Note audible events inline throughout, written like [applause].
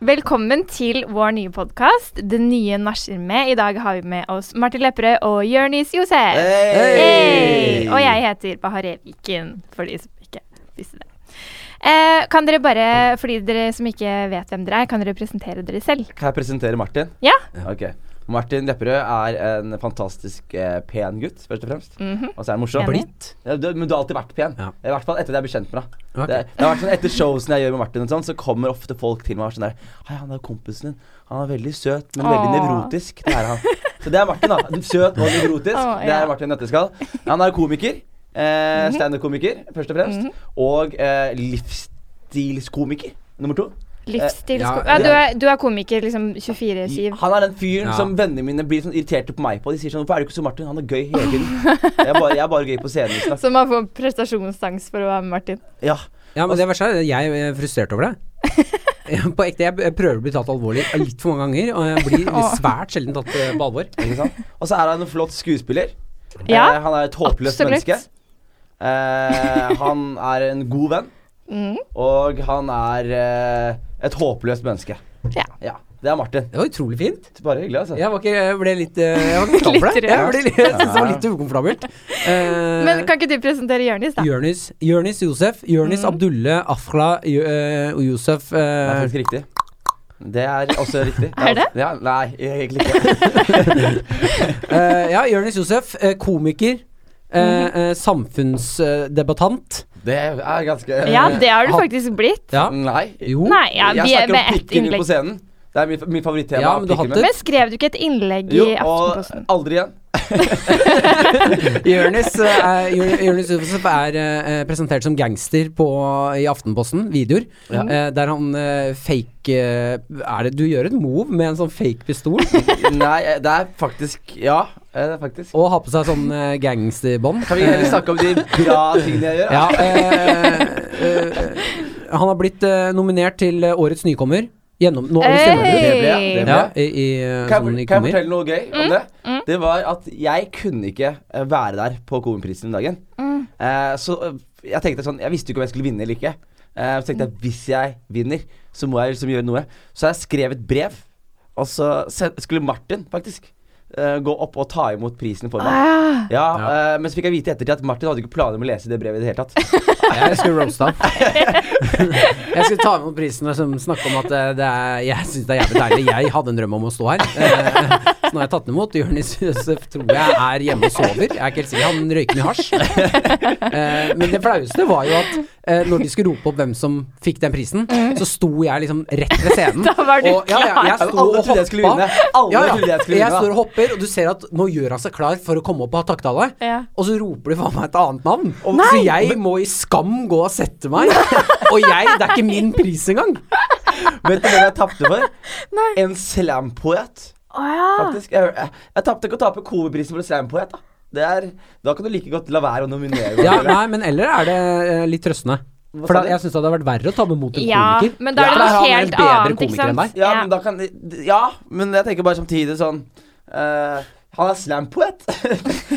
Velkommen til vår nye podkast, Det nye nachspiel med. I dag har vi med oss Martin Lepperød og Jonis Josef. Hey! Hey! Og jeg heter Bahareh Viken, for de som ikke visste det. Eh, kan dere bare, for de dere som ikke vet hvem dere er, kan dere presentere dere selv? Kan jeg presentere Martin? Ja? Ok. Martin Lepperød er en fantastisk eh, pen gutt, først og fremst. Mhm. [laughs] Og så er han morsom. Enig. Blitt. Ja, du, men du har alltid vært pen. Ja. I hvert fall etter at jeg ble kjent med deg. Ok. Det, det har vært sånn Etter showsene jeg gjør med Martin, og sånn, så kommer ofte folk til meg og er sånn der Hei, han er kompisen din. Han er veldig søt, men veldig Åh. nevrotisk. Det er han. Så det er Martin, da. [laughs] Søt og nevrotisk. Åh, ja. Det Mhm. er Martin Nøtteskall. Han er komiker. Eh, Standup-komiker, først og fremst. Og eh, livsstilskomiker. Nummer to. Eh, Livsstilsko... Ja, Ja, du, er, du er komiker liksom 24-7. Han er den fyren Ja. som vennene mine blir sånn irriterte på meg på. De sier sånn 'Hvorfor er du ikke som Martin? Han er gøy hele [laughs] tiden'. Jeg er bare, jeg er bare gøy på scenen. Liksom. Så man får prestasjonsangst for å være med Martin. Ja. Ja, men det verste er at jeg er frustrert [laughs] over det. Jeg- På ekte, jeg jeg prøver å bli tatt alvorlig litt for mange ganger, og jeg blir svært sjelden tatt eh, på alvor. Ikke sant? Og så er han en flott skuespiller. Ja, Eh, han er et håpløst absolutt. menneske. Eh, han er en god venn. Mm. Og han er eh, et håpløst menneske. Ja. Det er Martin. Det var utrolig fint. Bare hyggelig, altså. Jeg, var ikke, jeg ble litt eh, [laughs] Jeg var ikke klar for Litt det. Jeg, rørt. [laughs] ble, litt- jeg synes det var litt ukomfortabelt. Eh, Men kan Mm. ikke du presentere Jonis, da? Jørnis, Jørnis Josef, Jørnis Abdulle Afla Jø- eh, og Josef Det er eh, faktisk riktig. Det er også riktig. [laughs] Er det? Ja, nei, egentlig ikke. eh, Ja, Jørnis Josef, eh, komiker. eh, Mhm. eh, samfunnsdebattant. Det er ganske Ja, det har du han- faktisk blitt. Ja. Nei. Jo. Nei, ja, Eh, jeg vi er snakker med om ett pikken min innlegg. på scenen. Det er min, min favorittema. Ja, men du pikken hadde- min. Men skrev du ikke et innlegg Jo, i Aftenposten? og aldri igjen. Jørnis, eh, Jør- Jørnis Josef er eh, presentert som gangster på, i Aftenposten, videoer. eh, der han eh, fake eh, Er det Du gjør et move med en sånn fake pistol Nei, eh, det er faktisk Ja, eh, det er faktisk. og har på seg sånn eh, gangsterbånd. Eh, Kan vi heller snakke om de bra tingene jeg gjør? Ja, eh, eh, han har blitt eh, nominert til eh, Årets nykommer. Gjennom, nå er det Det stemmer. Hey! ble jeg. Det ble Ja, jeg. i, i, eh, Altså, Kan jeg, kan sånn jeg nykommer. fortelle noe gøy om det? Mm, Det var at jeg kunne ikke eh, være der på Komiprisen den dagen. Mm. Eh, så eh, jeg tenkte sånn Jeg visste jo ikke om jeg skulle vinne eller ikke. Eh, så tenkte jeg Mm. hvis jeg vinner, så må jeg liksom gjøre noe. Så jeg skrev et brev, og så se- skulle Martin faktisk eh, gå opp og ta imot prisen for meg. Ah, Ja, eh, Men så fikk jeg vite i ettertid at Martin hadde ikke planer om å lese det brevet i det hele [laughs] tatt. Jeg skulle roaste han. [laughs] Jeg skulle ta imot prisene som snakker om at eh, det er, jeg syns det er jævlig deilig. Jeg hadde en drøm om å stå her. Eh, [laughs] Så nå har jeg tatt den imot. Jonis Josef tror jeg er hjemme og sover. Jeg er ikke helt sikker. Han røyker mye hasj. [laughs] Eh, Men det flaueste var jo at eh, når de skulle rope opp hvem som fikk den prisen, så sto jeg liksom rett ved scenen. Mm. [laughs] Da var du og, ja, ja, jeg klar. sto Alle og trodde jeg skulle hoppa. vinne. Alle Ja, ja. trodde jeg skulle vinne, Jeg da. står og hopper, og du ser at nå gjør han seg klar for å komme opp og ha takketale. Ja. Og så roper de faen meg et annet navn. Nei! Så jeg må i skam gå og sette meg. og jeg, det er ikke min pris engang. Vet du hvem jeg tapte [laughs] for? En slampoet. Å ja. Faktisk. Jeg, jeg, jeg tapte ikke å tape Kobe-prisen for en slampoet. Da. Det er, da kan du like godt la være å nominere. Ja, hverandre. nei, men eller er det eh, litt trøstende. Hva For sa da, du? jeg syns det hadde vært verre å ta med mot en Ja, komiker. men da er det For noe han helt en bedre annet, ikke komiker enn sant? ja, deg. ja. men da kan Ja, men jeg tenker bare samtidig sånn eh, Han er slampoet. [laughs]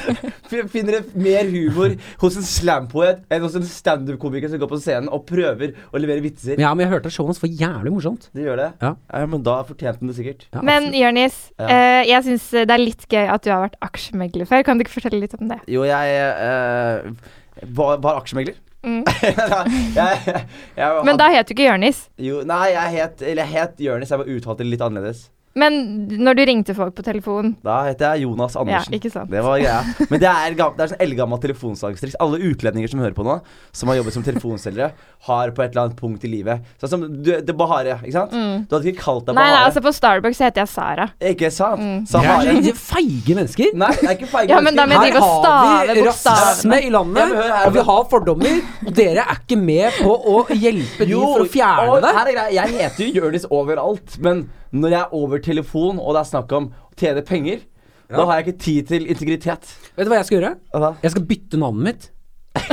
Finner det mer humor hos en slampoet enn hos en standup-komiker som går på scenen og prøver å levere vitser. Ja, men jeg hørte at showet hans var jævlig morsomt. Det gjør det. Ja. men da fortjente han det sikkert. Ja, Men absolutt. Jonis, Ja. eh, jeg syns det er litt gøy at du har vært aksjemegler før. Kan du ikke fortelle litt om det? Jo, jeg eh, var, var aksjemegler. [laughs] Mm. jeg, jeg, jeg, Men da het du ikke Jonis. Jo, nei, jeg het, eller jeg het Jørnis, jeg bare uttalte det litt annerledes. Men når du ringte folk på telefon Da heter jeg Jonas Ja, Andersen. ikke sant. det var greia. Men det er, gam- det er sånn eldgammelt telefonsalgstriks. Alle utlendinger som hører på nå, som har jobbet som telefonselgere, har på et eller annet punkt i livet Sånn som du, det Bahare, ikke sant? Du hadde ikke kalt Mm. deg Nei, altså- Bahare. nei, altså på Starbucks så heter jeg Sara. Ikke sant? Dere Sahare. er så feige mennesker. Nei, det er ikke feil. Ja, men da mennesker. må jeg drive og stave bokstavene. rasisme i Ja, men hør landet, her, og vi men- har fordommer. Og dere er ikke med på å hjelpe de for å fjerne og det. Her er greia. Jeg heter jo Jonis overalt, men når jeg er over telefon, og det er snakk om å tjene penger, da har jeg ikke tid til integritet. Vet du hva jeg skal gjøre? Hva da? Jeg skal bytte navnet mitt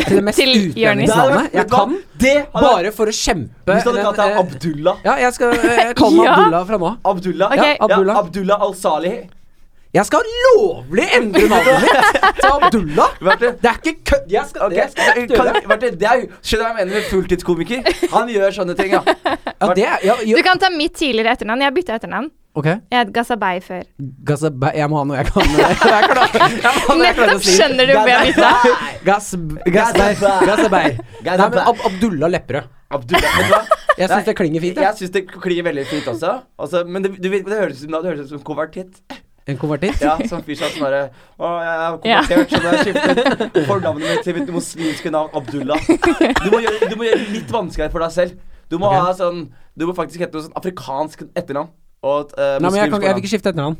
til det mest Til utlendingsnavnet jeg kan. Det hadde vært- Bare for å kjempe Hvis du hadde kalt den, deg eh, Abdullah [laughs] Ja, jeg skal eh, kalle meg Ja. Abdullah fra nå av. Abdullah? Ok. Ja, Abdullah. Abdullah al-Salihi. Jeg skal lovlig endre navnet mitt til Abdullah! Marte, Det er ikke kødd! Jeg skal, ok, jeg skal kan- Marte, det er jo- Skjønner du hva jeg mener med fulltidskomiker? Han gjør sånne ting, ja. Ja, det er ja, Du ja. kan ta mitt tidligere etternavn. Jeg bytta etternavn. Ok. Jeg het Gazabay før. Gazabay Jeg må ha noe jeg kan [laughs] jeg klarer- jeg må ha noe jeg klarer å Nettopp si. skjønner du hvor jeg bytta. Gaz- Gazabay. Gazabay. Nei, men Gazabay. Ab Abdullah Lepperød. Abdullah, vet du hva? Jeg syns det klinger fint. Jeg Jeg. syns det klinger veldig fint også. Altså, men det, du vet, det høres ut som, det høres ut som konvertitt. En konvertitt. Ja, som fyr som bare Å, jeg er konvertert, så da har jeg skiftet fornavnet mitt til mitt muslimske navn Abdullah. Du må gjøre du må gjøre det litt vanskeligere for deg selv. Du må Ok. ha sånn Du må faktisk hete noe sånn afrikansk etternavn. Og et eh, Nei, muslimsk men jeg, kan, jeg vil fornavn. ikke skifte etternavn.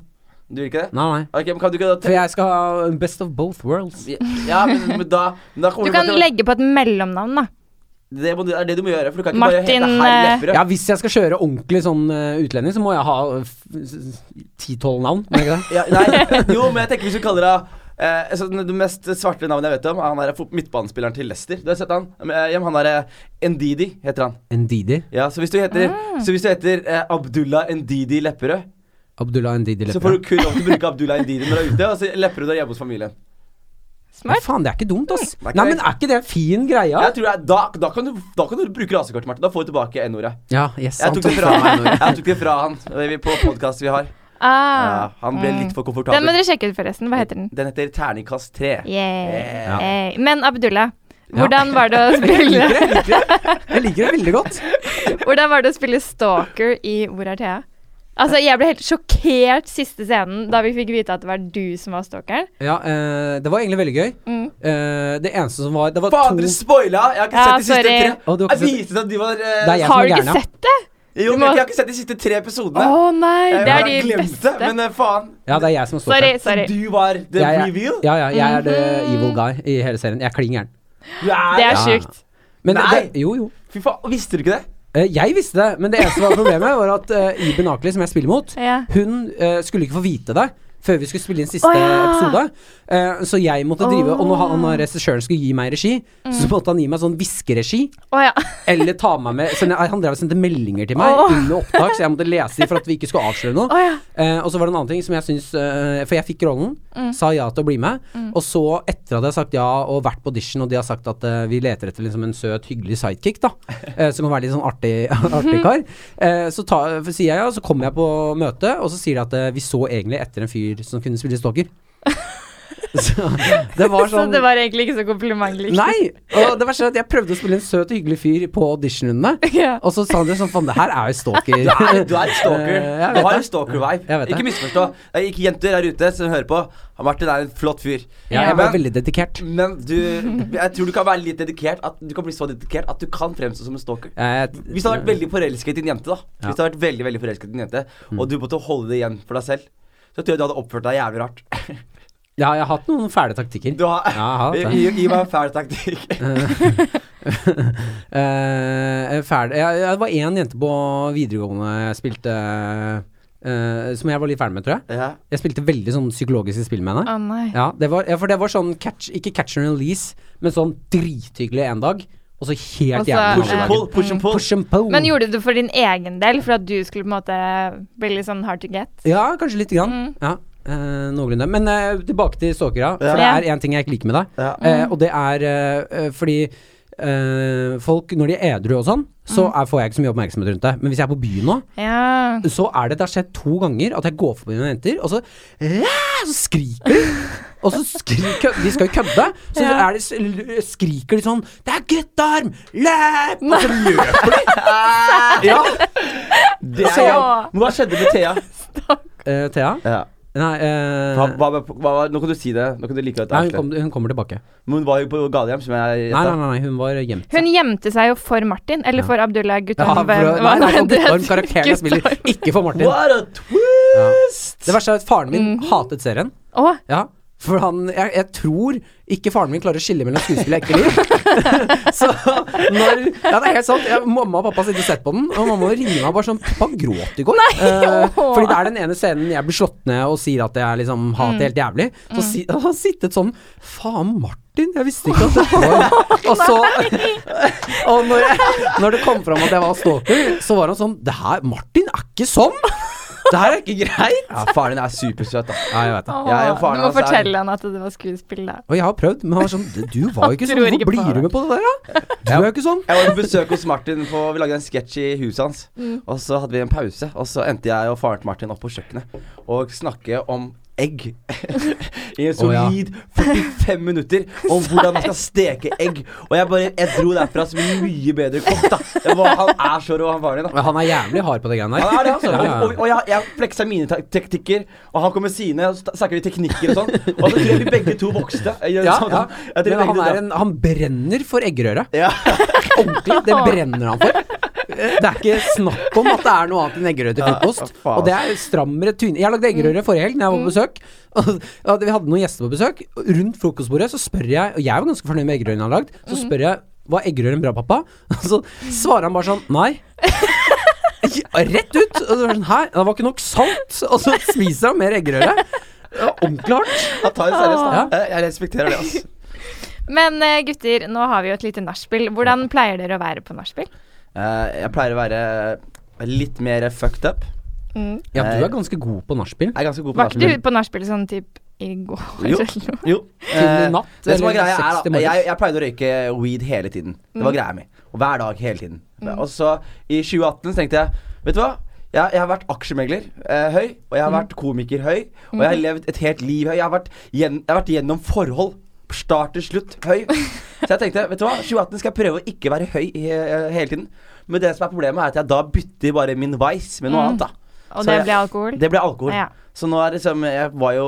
Du vil ikke det? Nei, nei. Ok, men kan du ikke da For jeg skal ha best of both worlds. Ja, men, men da, men da kommer Du kan til å- legge på et mellomnavn, da. det, må, du- det er det du må gjøre, for du kan ikke Martin, bare hete Herr Lepperød. Ja, hvis jeg skal kjøre ordentlig sånn eh, utlending, så må jeg ha ti-tolv navn. må jeg Ikke det? Ja, nei, [laughs] jo, men jeg tenker hvis du kaller deg eh, altså, den- Det mest svarte navnet jeg vet om, han er fot- midtbanespilleren til Leicester. Du har sett han? Eh, ja, men Han er eh, Ndidi, heter han. Ndidi. Ja, Så hvis du heter, Ah. så hvis du heter eh, Abdullah Ndidi Lepperød, Abdullah Ndidi så får du Lepperød. kun lov til å bruke Abdullah Ndidi når du er ute, og så Lepperød er hjemme hos familien. Ja, Smart. faen, det er ikke dumt, ass. Det er ikke Nei, det. men er ikke det en fin greie? Jeg tror jeg, da, da, kan du, da kan du bruke rasekortet, Martin. Da får du tilbake N-ordet. Ja, yes, Jeg han tok det fra [laughs] han. Jeg tok det fra han eh, vi- på podkast vi har. Ja, Ah. han ble Mm. litt for Den må komfortabel. dere sjekke ut, forresten. Hva heter den? Den heter Terningkast 3. Yeah. Ja. Eh, Men Abdullah, Ja. hvordan var det å spille [laughs] Jeg liker det. Jeg liker det veldig godt. Hvordan var det å spille stalker i Hvor er Thea? Altså, jeg ble helt sjokkert siste scenen da vi fikk vite at det var du som var stalkeren. Ja, eh, det var egentlig veldig gøy. Mm. Eh, det eneste som var Det var Faen, to dere spoila! Jeg har ikke Ja, sett de siste sorry. tre. Å, du har ikke Jeg sett- viste at de var eh, Det er jeg som Har er du gæren, ikke ja. sett det? Jo, Du men må- Jeg har ikke sett de siste tre Å episodene. nei, Jeg det er har de glemt beste. det, men eh, faen. Ja, det er jeg som er Sorry, Mm-hmm. stalkeren. sorry. Du var the Jeg er- reveal. Ja, ja, jeg er the evil guy i hele serien. Jeg er klin gæren. Du er, Det er Ja. sjukt. Men Nei. det- Jo, jo. Fy faen, Visste du ikke det? Eh, jeg visste det, men det eneste som var problemet, var at eh, Iben Akeli, som jeg spiller mot, Ja. hun eh, skulle ikke få vite det før vi skulle spille inn siste Å, ja. episode. Eh, så jeg måtte drive Og når han- han Åh. regissøren skulle gi meg regi, Mm. så måtte han gi meg sånn hviskeregi. Å ja. Eller ta meg med sende, Han drev og sendte meldinger til meg Åh. under opptak, så jeg måtte lese de for at vi ikke skulle avsløre noe. Å ja. Eh, og så var det en annen ting som jeg syns eh, For jeg fikk rollen, Mm. sa ja til å bli med. Og så, etter at jeg har sagt ja og vært på audition, og de har sagt at eh, vi leter etter liksom en søt, hyggelig [laughs] sidekick, da, eh, som kan være litt sånn artig, [laughs] artig kar, eh, så ta, for, sier jeg ja, så kommer jeg på møte, og så sier de at eh, vi så egentlig etter en fyr som kunne [laughs] spille stalker. så det var Så sånn det var egentlig ikke så komplimentlikt. Nei! Og det verste er at jeg prøvde å spille en søt og hyggelig fyr på auditionrundene. Ja. Og så sa de sånn faen, det her er jo stalker. [laughs] Du er, du er et stalker. Eh, jeg Du vet har det. en stalker-vibe. Jeg vet det. Ikke misforstå. Det er Ikke jenter der ute som hører på. Han Martin er en flott fyr. [laughs] Ja, jeg var men, veldig dedikert. men du Jeg tror du kan være litt dedikert at, Du kan bli så dedikert at du kan fremstå som en stalker. Eh, Hvis du hadde vært veldig forelsket i en jente, da Hvis du hadde vært veldig, veldig forelsket i en jente og du måtte holde det igjen for deg selv, så tror jeg du hadde oppført deg jævlig rart. [laughs] Ja, jeg har hatt noen fæle taktikker. Du har, Ja, jeg har hatt det. [laughs] gi, gi meg en fæl taktikk. Eh, fæl ja, ja, Det var én jente på videregående jeg spilte eh, Som jeg var litt ferdig med, tror jeg. [laughs] ja. Jeg spilte veldig sånn psykologiske spill med henne. Å nei. Ja, det var, ja, for det var sånn catch, ikke catch and release, men sånn drithyggelig en dag, og Og så så- helt Push and Push and Ja. jævlig. pull, push and pull. Push and pull. Altså, Men gjorde du det for din egen del, for at du skulle på en måte bli litt sånn hard to get? Ja, kanskje lite grann. Mm. Ja, eh, noenlunde. Men eh, tilbake til stalkera. For det Ja. er én ting jeg ikke liker med deg. Ja. Eh, Mm. og det er eh, eh, fordi eh, folk, når de er edru og sånn, så Mm. er, får jeg ikke så mye oppmerksomhet rundt det. Men hvis jeg er på byen nå, Ja. så er det det har skjedd to ganger at jeg går forbi noen jenter, og så, ja, så skriker de. [laughs] Og så skriker De skal jo kødde, så Ja. er de, skriker de sånn 'Det er guttearm! Løp!' Og så løper de. ja. Det er Så- jeg. Men hva skjedde med Thea? Eh, Thea? Ja. Nei, eh, Hva, hva, hva, hva, nå kan du si det. Nå kan du like godt nei hun, avsløre. kom, hun kommer tilbake. Men hun var jo på Galehjem, som jeg Nei, nei, gjetta. nei, nei, hun var gjemt. Hun gjemte seg jo for Martin, eller for Abdullah Ja, Guttorm. for, å- nei, nei, for Guttorm, karakteren jeg spiller, Guttorm. ikke for Martin. What a twist! Det verste er at faren min Mm. hatet serien. Å, Ja, for han, jeg, jeg tror ikke faren min klarer å skille mellom skuespill og ekte liv. [laughs] Så når Ja, det er helt sant. Jeg, mamma og pappa sitter og sett på den, og mamma ringer meg bare sånn Pappa gråt i går. Eh, åh. fordi det er den ene scenen jeg blir slått ned og sier at jeg liksom har hatt det helt jævlig. Så si, [laughs] han har sittet sånn Faen, Martin, jeg visste ikke at det var [laughs] Og så Og når, jeg, når det kom fram at jeg var stalker, så var han sånn Det her Martin er ikke sånn! Det her er ikke greit! Ja, faren din er supersøt, da. Ja, jeg vet det. Åh, Jeg og faren du må hans er- fortelle han at det var skuespill, da. Og jeg har prøvd, men han var sånn Du var jo ikke Han sånn, tror ikke hvorfor på blir du det. med på det der, da? Du er jo ikke sånn. Jeg var på besøk hos Martin på, Vi lagde en sketsj i huset hans. Og så hadde vi en pause, og så endte jeg og faren til Martin opp på kjøkkenet og snakke om egg. [laughs] I en Å, ja. solid 45 minutter om hvordan man skal steke egg. Og jeg bare jeg dro derfra som en mye bedre kokk, da. Det var, han er så rå, han faren din. da. Men han er jævlig hard på det greiene Han er det, altså. Ja, ja. Og, og, og jeg, jeg fleksa mine tak- teknikker, og han kom med sine, og så snakker vi teknikker og sånn. Og så tror jeg vi begge to vokste. Jeg, Ja, sånn, ja. jeg tror Men han, begge to- er en, han brenner for eggerøre. ja. [laughs] Ordentlig. Det brenner han for. Det er ikke snakk om at det er noe annet enn eggerøre til frokost. faen. Og det er strammere tyn... Jeg lagde eggerøre forrige helg da jeg var på besøk. [laughs] Og- og Vi hadde noen gjester på besøk. Og Rundt frokostbordet så spør jeg, og jeg var ganske fornøyd med eggerørene jeg hadde lagd, så spør jeg var eggerøren bra, pappa? [laughs] Og så svarer han bare sånn nei. [laughs] Ja, Rett ut! Og det var sånn, Hæ? Det var ikke nok salt! Og så spiser han mer eggerøre. Det var Ordentlig hardt. Han tar det seriøst. da. Ja. Jeg, jeg respekterer det, altså. Men eh, gutter, nå har vi jo et lite nachspiel. Hvordan pleier dere å være på nachspiel? Eh, jeg pleier å være litt mer fucked up. Mm. Ja, du er ganske god på nachspiel. Jeg er ganske god på Var [laughs] ikke nachspiel. du på nachspiel sånn typ i går? Jo. [laughs] eller noe? Jo. Eh, Til natt, det som var eller greia er, seks til da, morges? jeg, jeg pleide å røyke weed hele tiden. Det var greia mi. Og hver dag hele tiden. Og så i 2018 så tenkte jeg Vet du hva? Jeg, jeg har vært aksjemegler eh, høy, og jeg har vært komiker høy. Og jeg har levd et helt liv høy. Jeg har vært, gjen, jeg har vært gjennom forhold. Start til slutt høy. Så jeg tenkte vet du hva, 2018 skal jeg prøve å ikke være høy i, eh, hele tiden. Men det som er problemet, er at jeg da bytter bare min vice med noe annet. da Og Så det jeg- ble alkohol? Det ble alkohol. Ja. Så nå er det liksom Jeg var jo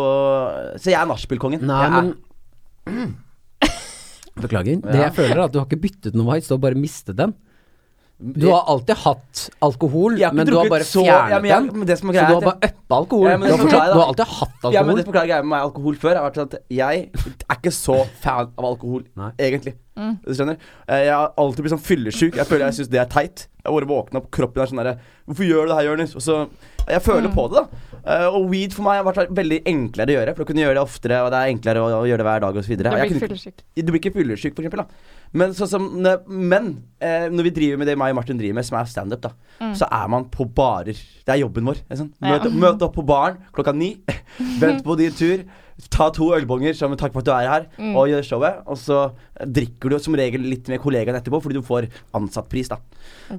Så jeg er nachspielkongen. Nei, Jeg er- men [clears throat] Beklager. Det jeg føler, er at du har ikke byttet noe vits, du har bare mistet den. Du har alltid hatt alkohol, Jeg har ikke men du har drukket bare så- fjernet ja, men jeg- men det den. som er Så du greia er har at bare uppa alkohol. Ja, men det du, som har er fortsatt, greia da- du har alltid hatt Ja, men alkohol. det forklarer greia med meg alkohol før. Har vært sånn at jeg er ikke så fan av alkohol, Nei. egentlig. Mm. Du skjønner? Eh, Jeg har alltid blitt sånn fyllesyk. Jeg føler jeg syns det er teit. Jeg har bare våkna opp, kroppen er sånn derre Hvorfor gjør du det her, Jonis? Og så Jeg føler Mm. på det, da. Eh, Og weed for meg har vært veldig enklere å gjøre. For du kunne gjøre det oftere, og det er enklere å å gjøre det hver dag osv. Du blir fyllesyk. Du blir ikke fyllesyk, for eksempel. Da. Men, sånn som, ne- men eh, når vi driver med det meg og Martin driver med, som er standup, da, så er man på barer. Det er jobben vår. det er Sånn. Ja. Møte, møte opp på baren klokka ni. [laughs] Vent på din tur. Ta to ølbonger som en takk for at du er her, og gjør showet. Og så drikker du som regel litt med kollegaen etterpå, fordi du får ansattpris, da.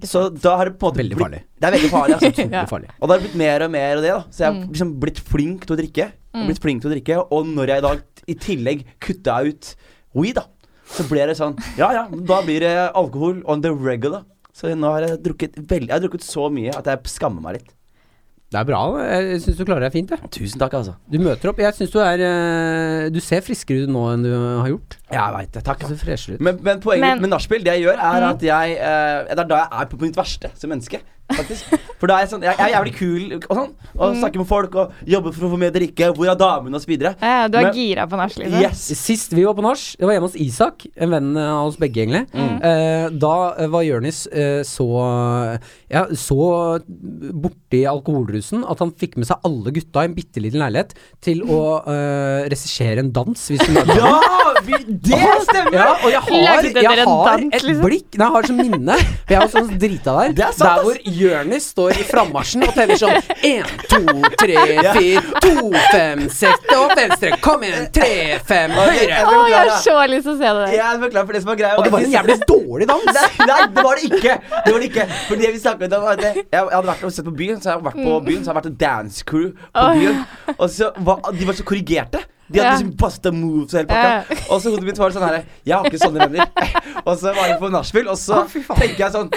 Så da har det på en måte Veldig blitt- farlig. Det er veldig farlig. [laughs] Altså. Utrolig farlig. Og det har blitt mer og mer av det, da. Så jeg har liksom blitt flink til å drikke. Blitt flink til å drikke Og når jeg i dag i tillegg kutta ut weed, da, så ble det sånn Ja ja, da blir det alkohol on the regular. Så nå har jeg drukket veldig Jeg har drukket så mye at jeg skammer meg litt. Det er bra. Jeg syns du klarer deg fint. Jeg. Tusen takk, altså. Du møter opp. Jeg syns du er eh, Du ser friskere ut nå enn du har gjort. Jeg veit det. Takk. Du ser freshere ut. Men, men poenget Men- med nachspiel, det jeg gjør, er at jeg eh, Det er da jeg er på mitt verste som menneske, faktisk. For da er jeg sånn Jeg jeg er jævlig kul og sånn, og snakker med folk og jobber for å få mer drikke. Hvor er damene, og så videre. Ja, ja, du er Men- gira på nachspiel? liksom. Yes. Sist vi var på nach, det var hjemme hos Isak, en venn eh, av oss begge, egentlig. Mm. Eh, da eh, var Jørnis eh, så ja, så borti alkoholrusen at han fikk med seg alle gutta i en bitte liten leilighet til å eh, regissere en dans. Hvis du [laughs] møter ham. Ja! Vi, det stemmer! Ja, og jeg har, Lagde dere jeg en har dans, et liksom? blikk Nei, jeg har det som minne. For jeg var sånn drita der. Det er sant, der hvor Jørnis står i frammarsjen og teller sånn én, to, tre, fire, to, fem, seks og venstre. Kom igjen, tre, fem, høyre. Å, jeg har så lyst til å se det der. Jeg er beklager for det som var greia. Og det var en jævlig dårlig dans! Nei, nei, det var det ikke! Det var det ikke For det vi snakket om var at jeg, jeg hadde vært og sett på byen, så jeg hadde vært på byen, så jeg hadde vært en dance crew på Mm. Åh. byen. Og så var, De var så korrigerte. De hadde Ja. liksom pasta moves og hele pakka. Og så hodet mitt var sånn her Jeg har ikke sånne venner. Og så var vi på nachspiel, og så tenker jeg sånn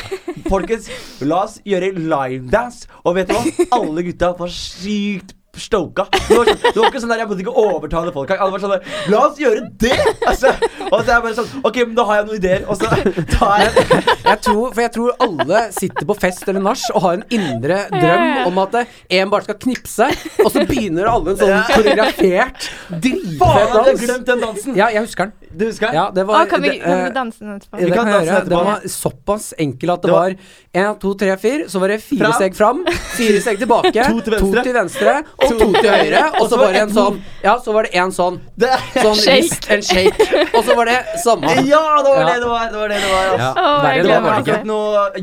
Folkens, la oss gjøre livedance. Og vet du hva? Alle gutta var sykt stoka. Det var, sånn, det var ikke sånn der, Jeg måtte ikke overtale folk. Alle var sånn der, La oss gjøre det! Altså, og så er jeg bare sånn Ok, men da har jeg noen ideer. Og så tar jeg Jeg tror, for jeg tror alle sitter på fest eller nach og har en indre drøm om at eh, en bare skal knipse, og så begynner alle en sånn koreografert, Faen, dritfet jeg hadde dans. glemt den dansen! Ja, jeg husker den. Du husker? Ja, det var Å, kan vi, det, kan vi eh, danse den etterpå? det kan kan jeg danse gjøre. etterpå. Den var såpass enkel at det Det var- var én, to, tre, fire. Så var det fire Fram. steg fram, fire steg tilbake, To til venstre. venstre, og to til høyre. Og så var det en ett- sånn. Ja, så var det en sånn. Det, Sånn Shake. rist and shake. Og så var det samme. ja, det var Ja. det det var. Det var det det var altså. Ja, Å, jeg verre enn det gleder var det meg. ikke. Akkurat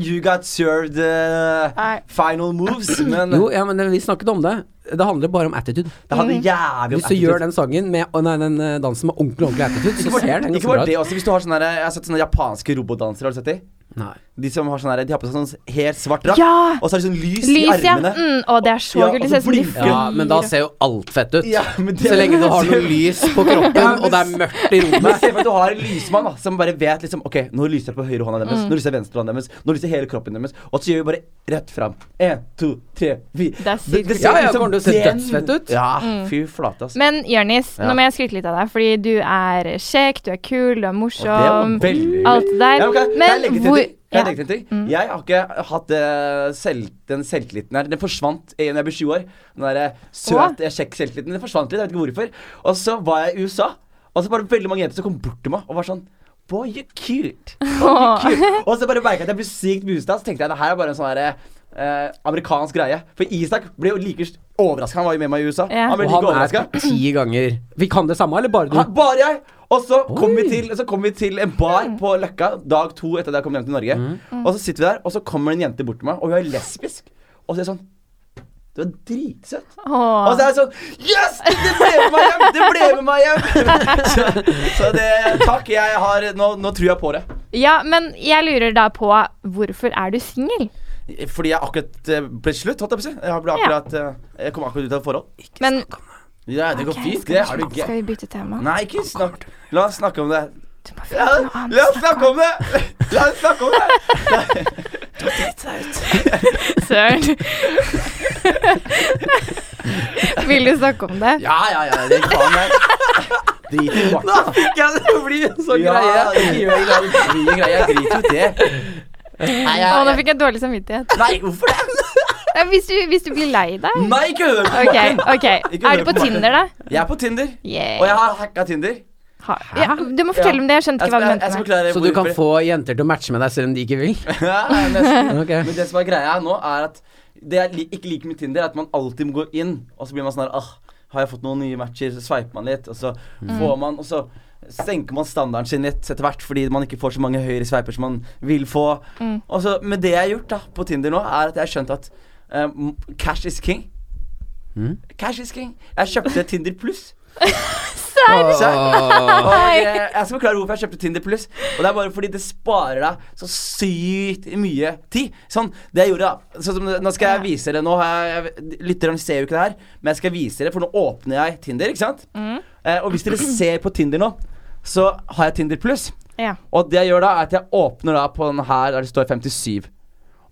nå You got served eh, Nei. final moves, men Jo, ja, men vi snakket om det. Det handler bare om attitude. det hadde Mm. jævlig Hvis du gjør den sangen med, å, nei, den eh, dansen med ordentlig ordentlig attitude, så Ikke bare, ser den ikke ganske bare bra det ut. også, hvis du har sånne, der- Jeg har sett sånne japanske robotdansere, har du sett de? Nei. De som har sånne, der- de har på seg sånn helt svart drakt, Ja! og så er det sånn lys, i Lys, ja. armene. Mm, å, det er så Ja, kult. og Det så ser ut som de blinker flyr. den. Ja, men da ser jo alt fett ut. Ja, men det- Så lenge du har noe lys [laughs] på kroppen, og det er mørkt i Men rommet. se for deg at du har en lysmann da, som bare vet liksom Ok, nå lyser jeg på høyre hånda Mm. deres, nå lyser jeg venstre hånda deres, nå lyser hele kroppen deres, og så gjør vi bare rett fram. Én, to, tre, fire. Det er sykt. Mm. ser Ja, ja, ut som kommer det til å se den- dødsfett ut? Ja, fy flate, ass. Men Jørnis, Ja. nå må jeg skryte litt av deg, fordi du er kjekk, du er kul, du er morsom. Og det var veldig- Alt det Ja, der. men kan jeg- kan jeg legge til en hvor ting? Kan jeg ja. Mm. legge til en ting? Jeg har ikke hatt eh, selv, den selvtilliten her. Den forsvant eh, når jeg ble 20 år. Den der eh, søt, eh, kjekk selvtilliten. Den forsvant litt, jeg vet ikke hvorfor. Og så var jeg i USA, og så bare veldig mange jenter som kom bort til meg og var sånn Boy, you're [laughs] cute. Boy, you're cute. og så bare merka jeg at jeg ble sykt boosta, så tenkte jeg det her er bare en sånn derre amerikansk greie. For Isak ble jo like overraska. Han var jo med meg i USA. Ja. Han ble Og like han er overraska. ti ganger Vi kan det samme, eller bare Ha, du? bare jeg! Og så kom, vi Oi. til, så kom vi til en bar på Løkka dag to etter at jeg kom hjem til Norge. Mm. Og så sitter vi der, og så kommer en jente bort til meg, og hun er lesbisk. Og så er jeg sånn Du er dritsøt. Åh. Og så er jeg sånn Yes! Det ble med meg hjem! Det ble med meg hjem! [laughs] så, så det Takk, jeg har Nå, nå tror jeg på det. ja, men jeg lurer da på hvorfor er du singel? Fordi jeg akkurat eh, ble slutt, holdt jeg på å si. Jeg, ble Ja. akkurat, eh, jeg kom akkurat ut av et forhold. Men Ja, det går Ok, fint. skal, Det vi, er du skal gæren. vi bytte tema? Nei, ikke snakk. La oss snakke om det. Du må Ja, finne på noe annet. la oss snakke om det! La oss snakke om det! [laughs] Søren. Vil du snakke om det? Ja, ja, ja, det kan jeg. Drit i Nå bart. fikk jeg det til å bli en sånn Ja, det greie. gjør jeg, det blir en greie. Jeg driter jo i det. Nei, Å, nå jeg, fikk jeg dårlig samvittighet. nei, hvorfor det? Nei, Hvis du, hvis du blir lei deg Nei, ikke hør på Ok, Martin. ok. Ikke Er du hør på på Martin. Tinder, da? Jeg er på Tinder, Yeah. og jeg har hacka Tinder. Ha- Ja, du må fortelle om det. Jeg skjønte Jeg ikke hva skal, du jeg, jeg mente skal med forklare Så du kan hvorfor. få jenter til å matche med deg selv om de ikke [laughs] vil? ja, nesten. Ok. Men det som er greia nå, er at det jeg li- ikke liker med Tinder, er at man alltid må gå inn, og så blir man sånn her ah, Har jeg fått noen nye matcher? Så sveiper man litt, og så får man Og så senker man standarden sin litt etter hvert fordi man ikke får så mange høyre sveiper som man vil få. Og så, men det jeg har gjort da på Tinder nå, er at jeg har skjønt at eh, m- cash is king. Cash is king. Jeg kjøpte Tinder pluss. Åh. Og eh, jeg skal forklare hvorfor jeg kjøpte Tinder Pluss. Og det er bare fordi det sparer deg så sykt mye tid. Sånn, det jeg gjorde da sånn som, det- Nå skal jeg vise dere Nå har jeg, jeg- Lytterne ser jo ikke det her, men jeg skal vise dere, for nå åpner jeg Tinder, ikke sant? Eh, og hvis dere ser på Tinder nå, så har jeg Tinder Pluss. Ja. Og det jeg gjør da, er at jeg åpner da på den her der det står 57.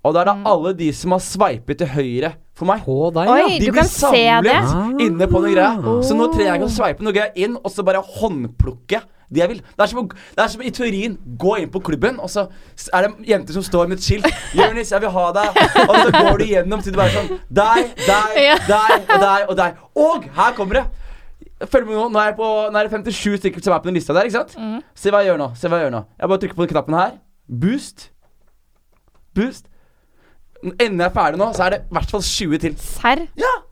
Og da er det alle de som har sveipet til høyre for meg. På deg, ja. Oi, De du blir kan se det. Oh. samlet inne på noe greia. Ah. Så nå trenger jeg ikke å sveipe noe greier inn, og så bare håndplukke de jeg vil. Det er, som, å- det er som i teorien gå inn på klubben, og så s- er det jenter som står med et skilt. 'Jonis, jeg vil ha deg.' Og så går du gjennom til du bare er sånn Deg, Ja. deg, deg og deg og deg. Og her kommer det. Følg med nå. Nå er, jeg på, nå er det 57 stykker som er på den lista der. ikke sant? Mm. Se hva jeg gjør nå. se hva Jeg gjør nå Jeg bare trykker på den knappen her. Boost. Boost. Ender jeg ferdig nå, så er det i hvert fall 20 til. Serr? Ja!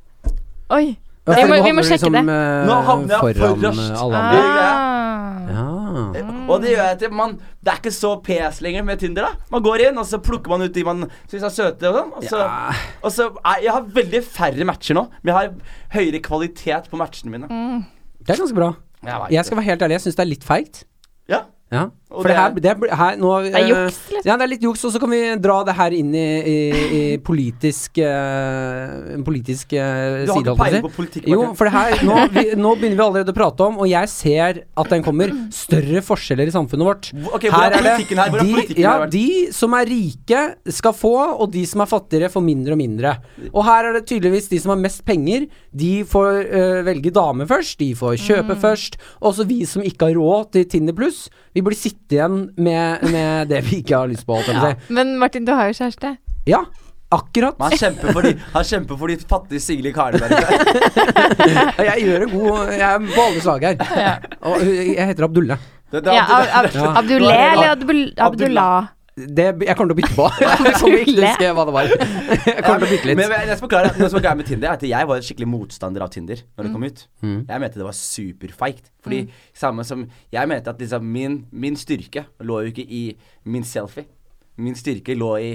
Oi. Ja, for Vi må- nå vi må havner du sjekke det. eh, Nå havner jeg foran forrest. eh, alle andre. Ah. Ja. Og det gjør jeg til man, Det er ikke så pes lenger med Tinder. da Man går inn, og så plukker man ut de man syns er søte. Og sånn Og så, Ja. og så er, Jeg har veldig færre matcher nå, men jeg har høyere kvalitet på matchene mine. Det er ganske bra. Jeg vet Mm. Jeg skal være helt ærlig, jeg syns det er litt feigt. Ja. Ja. Og For det det her, er- det, er- her nå, er juks, eh, Ja, det er litt juks, og så kan vi dra det her inn i, i, i politisk eh, En politisk eh, Du har ikke side. holdt jeg peiling på på å si. politikk, Jo, Martin. for det [laughs] her nå, vi, nå begynner vi allerede å prate om, og jeg ser at den kommer, større forskjeller i samfunnet vårt. Hvor- ok, hvordan er politikken her? Hvordan er de, politikken ja, her? de som er rike, skal få, og de som er fattigere, får mindre og mindre. Og her er det tydeligvis de som har mest penger, de får eh, velge dame først, de får kjøpe først. Også vi som ikke har råd til Tinder pluss, vi blir sittende igjen med, med det vi ikke har lyst på. holdt jeg på å si. Men Martin, du har jo kjæreste. Ja, akkurat. Men han kjemper for de, han kjemper for de fattige, single [laughs] karene der ute. Jeg gjør en god Jeg er på alles lag her. Og jeg heter Abdulle. Det- det- Ja, det- Ab Ab Ja. Abdullah eller Abdul Abdullah? Det, jeg kommer til å [laughs] bytte på. [laughs] Jeg kommer ikke til å huske hva det var. Jeg kommer til å bytte Men litt. jeg- jeg skal forklare Noe som er greia med Tinder, er at jeg var skikkelig motstander av Tinder når Mm. det kom ut. Jeg mente det var superfeigt. Fordi samme som Jeg mente at liksom min, min styrke lå jo ikke i min selfie. Min styrke lå i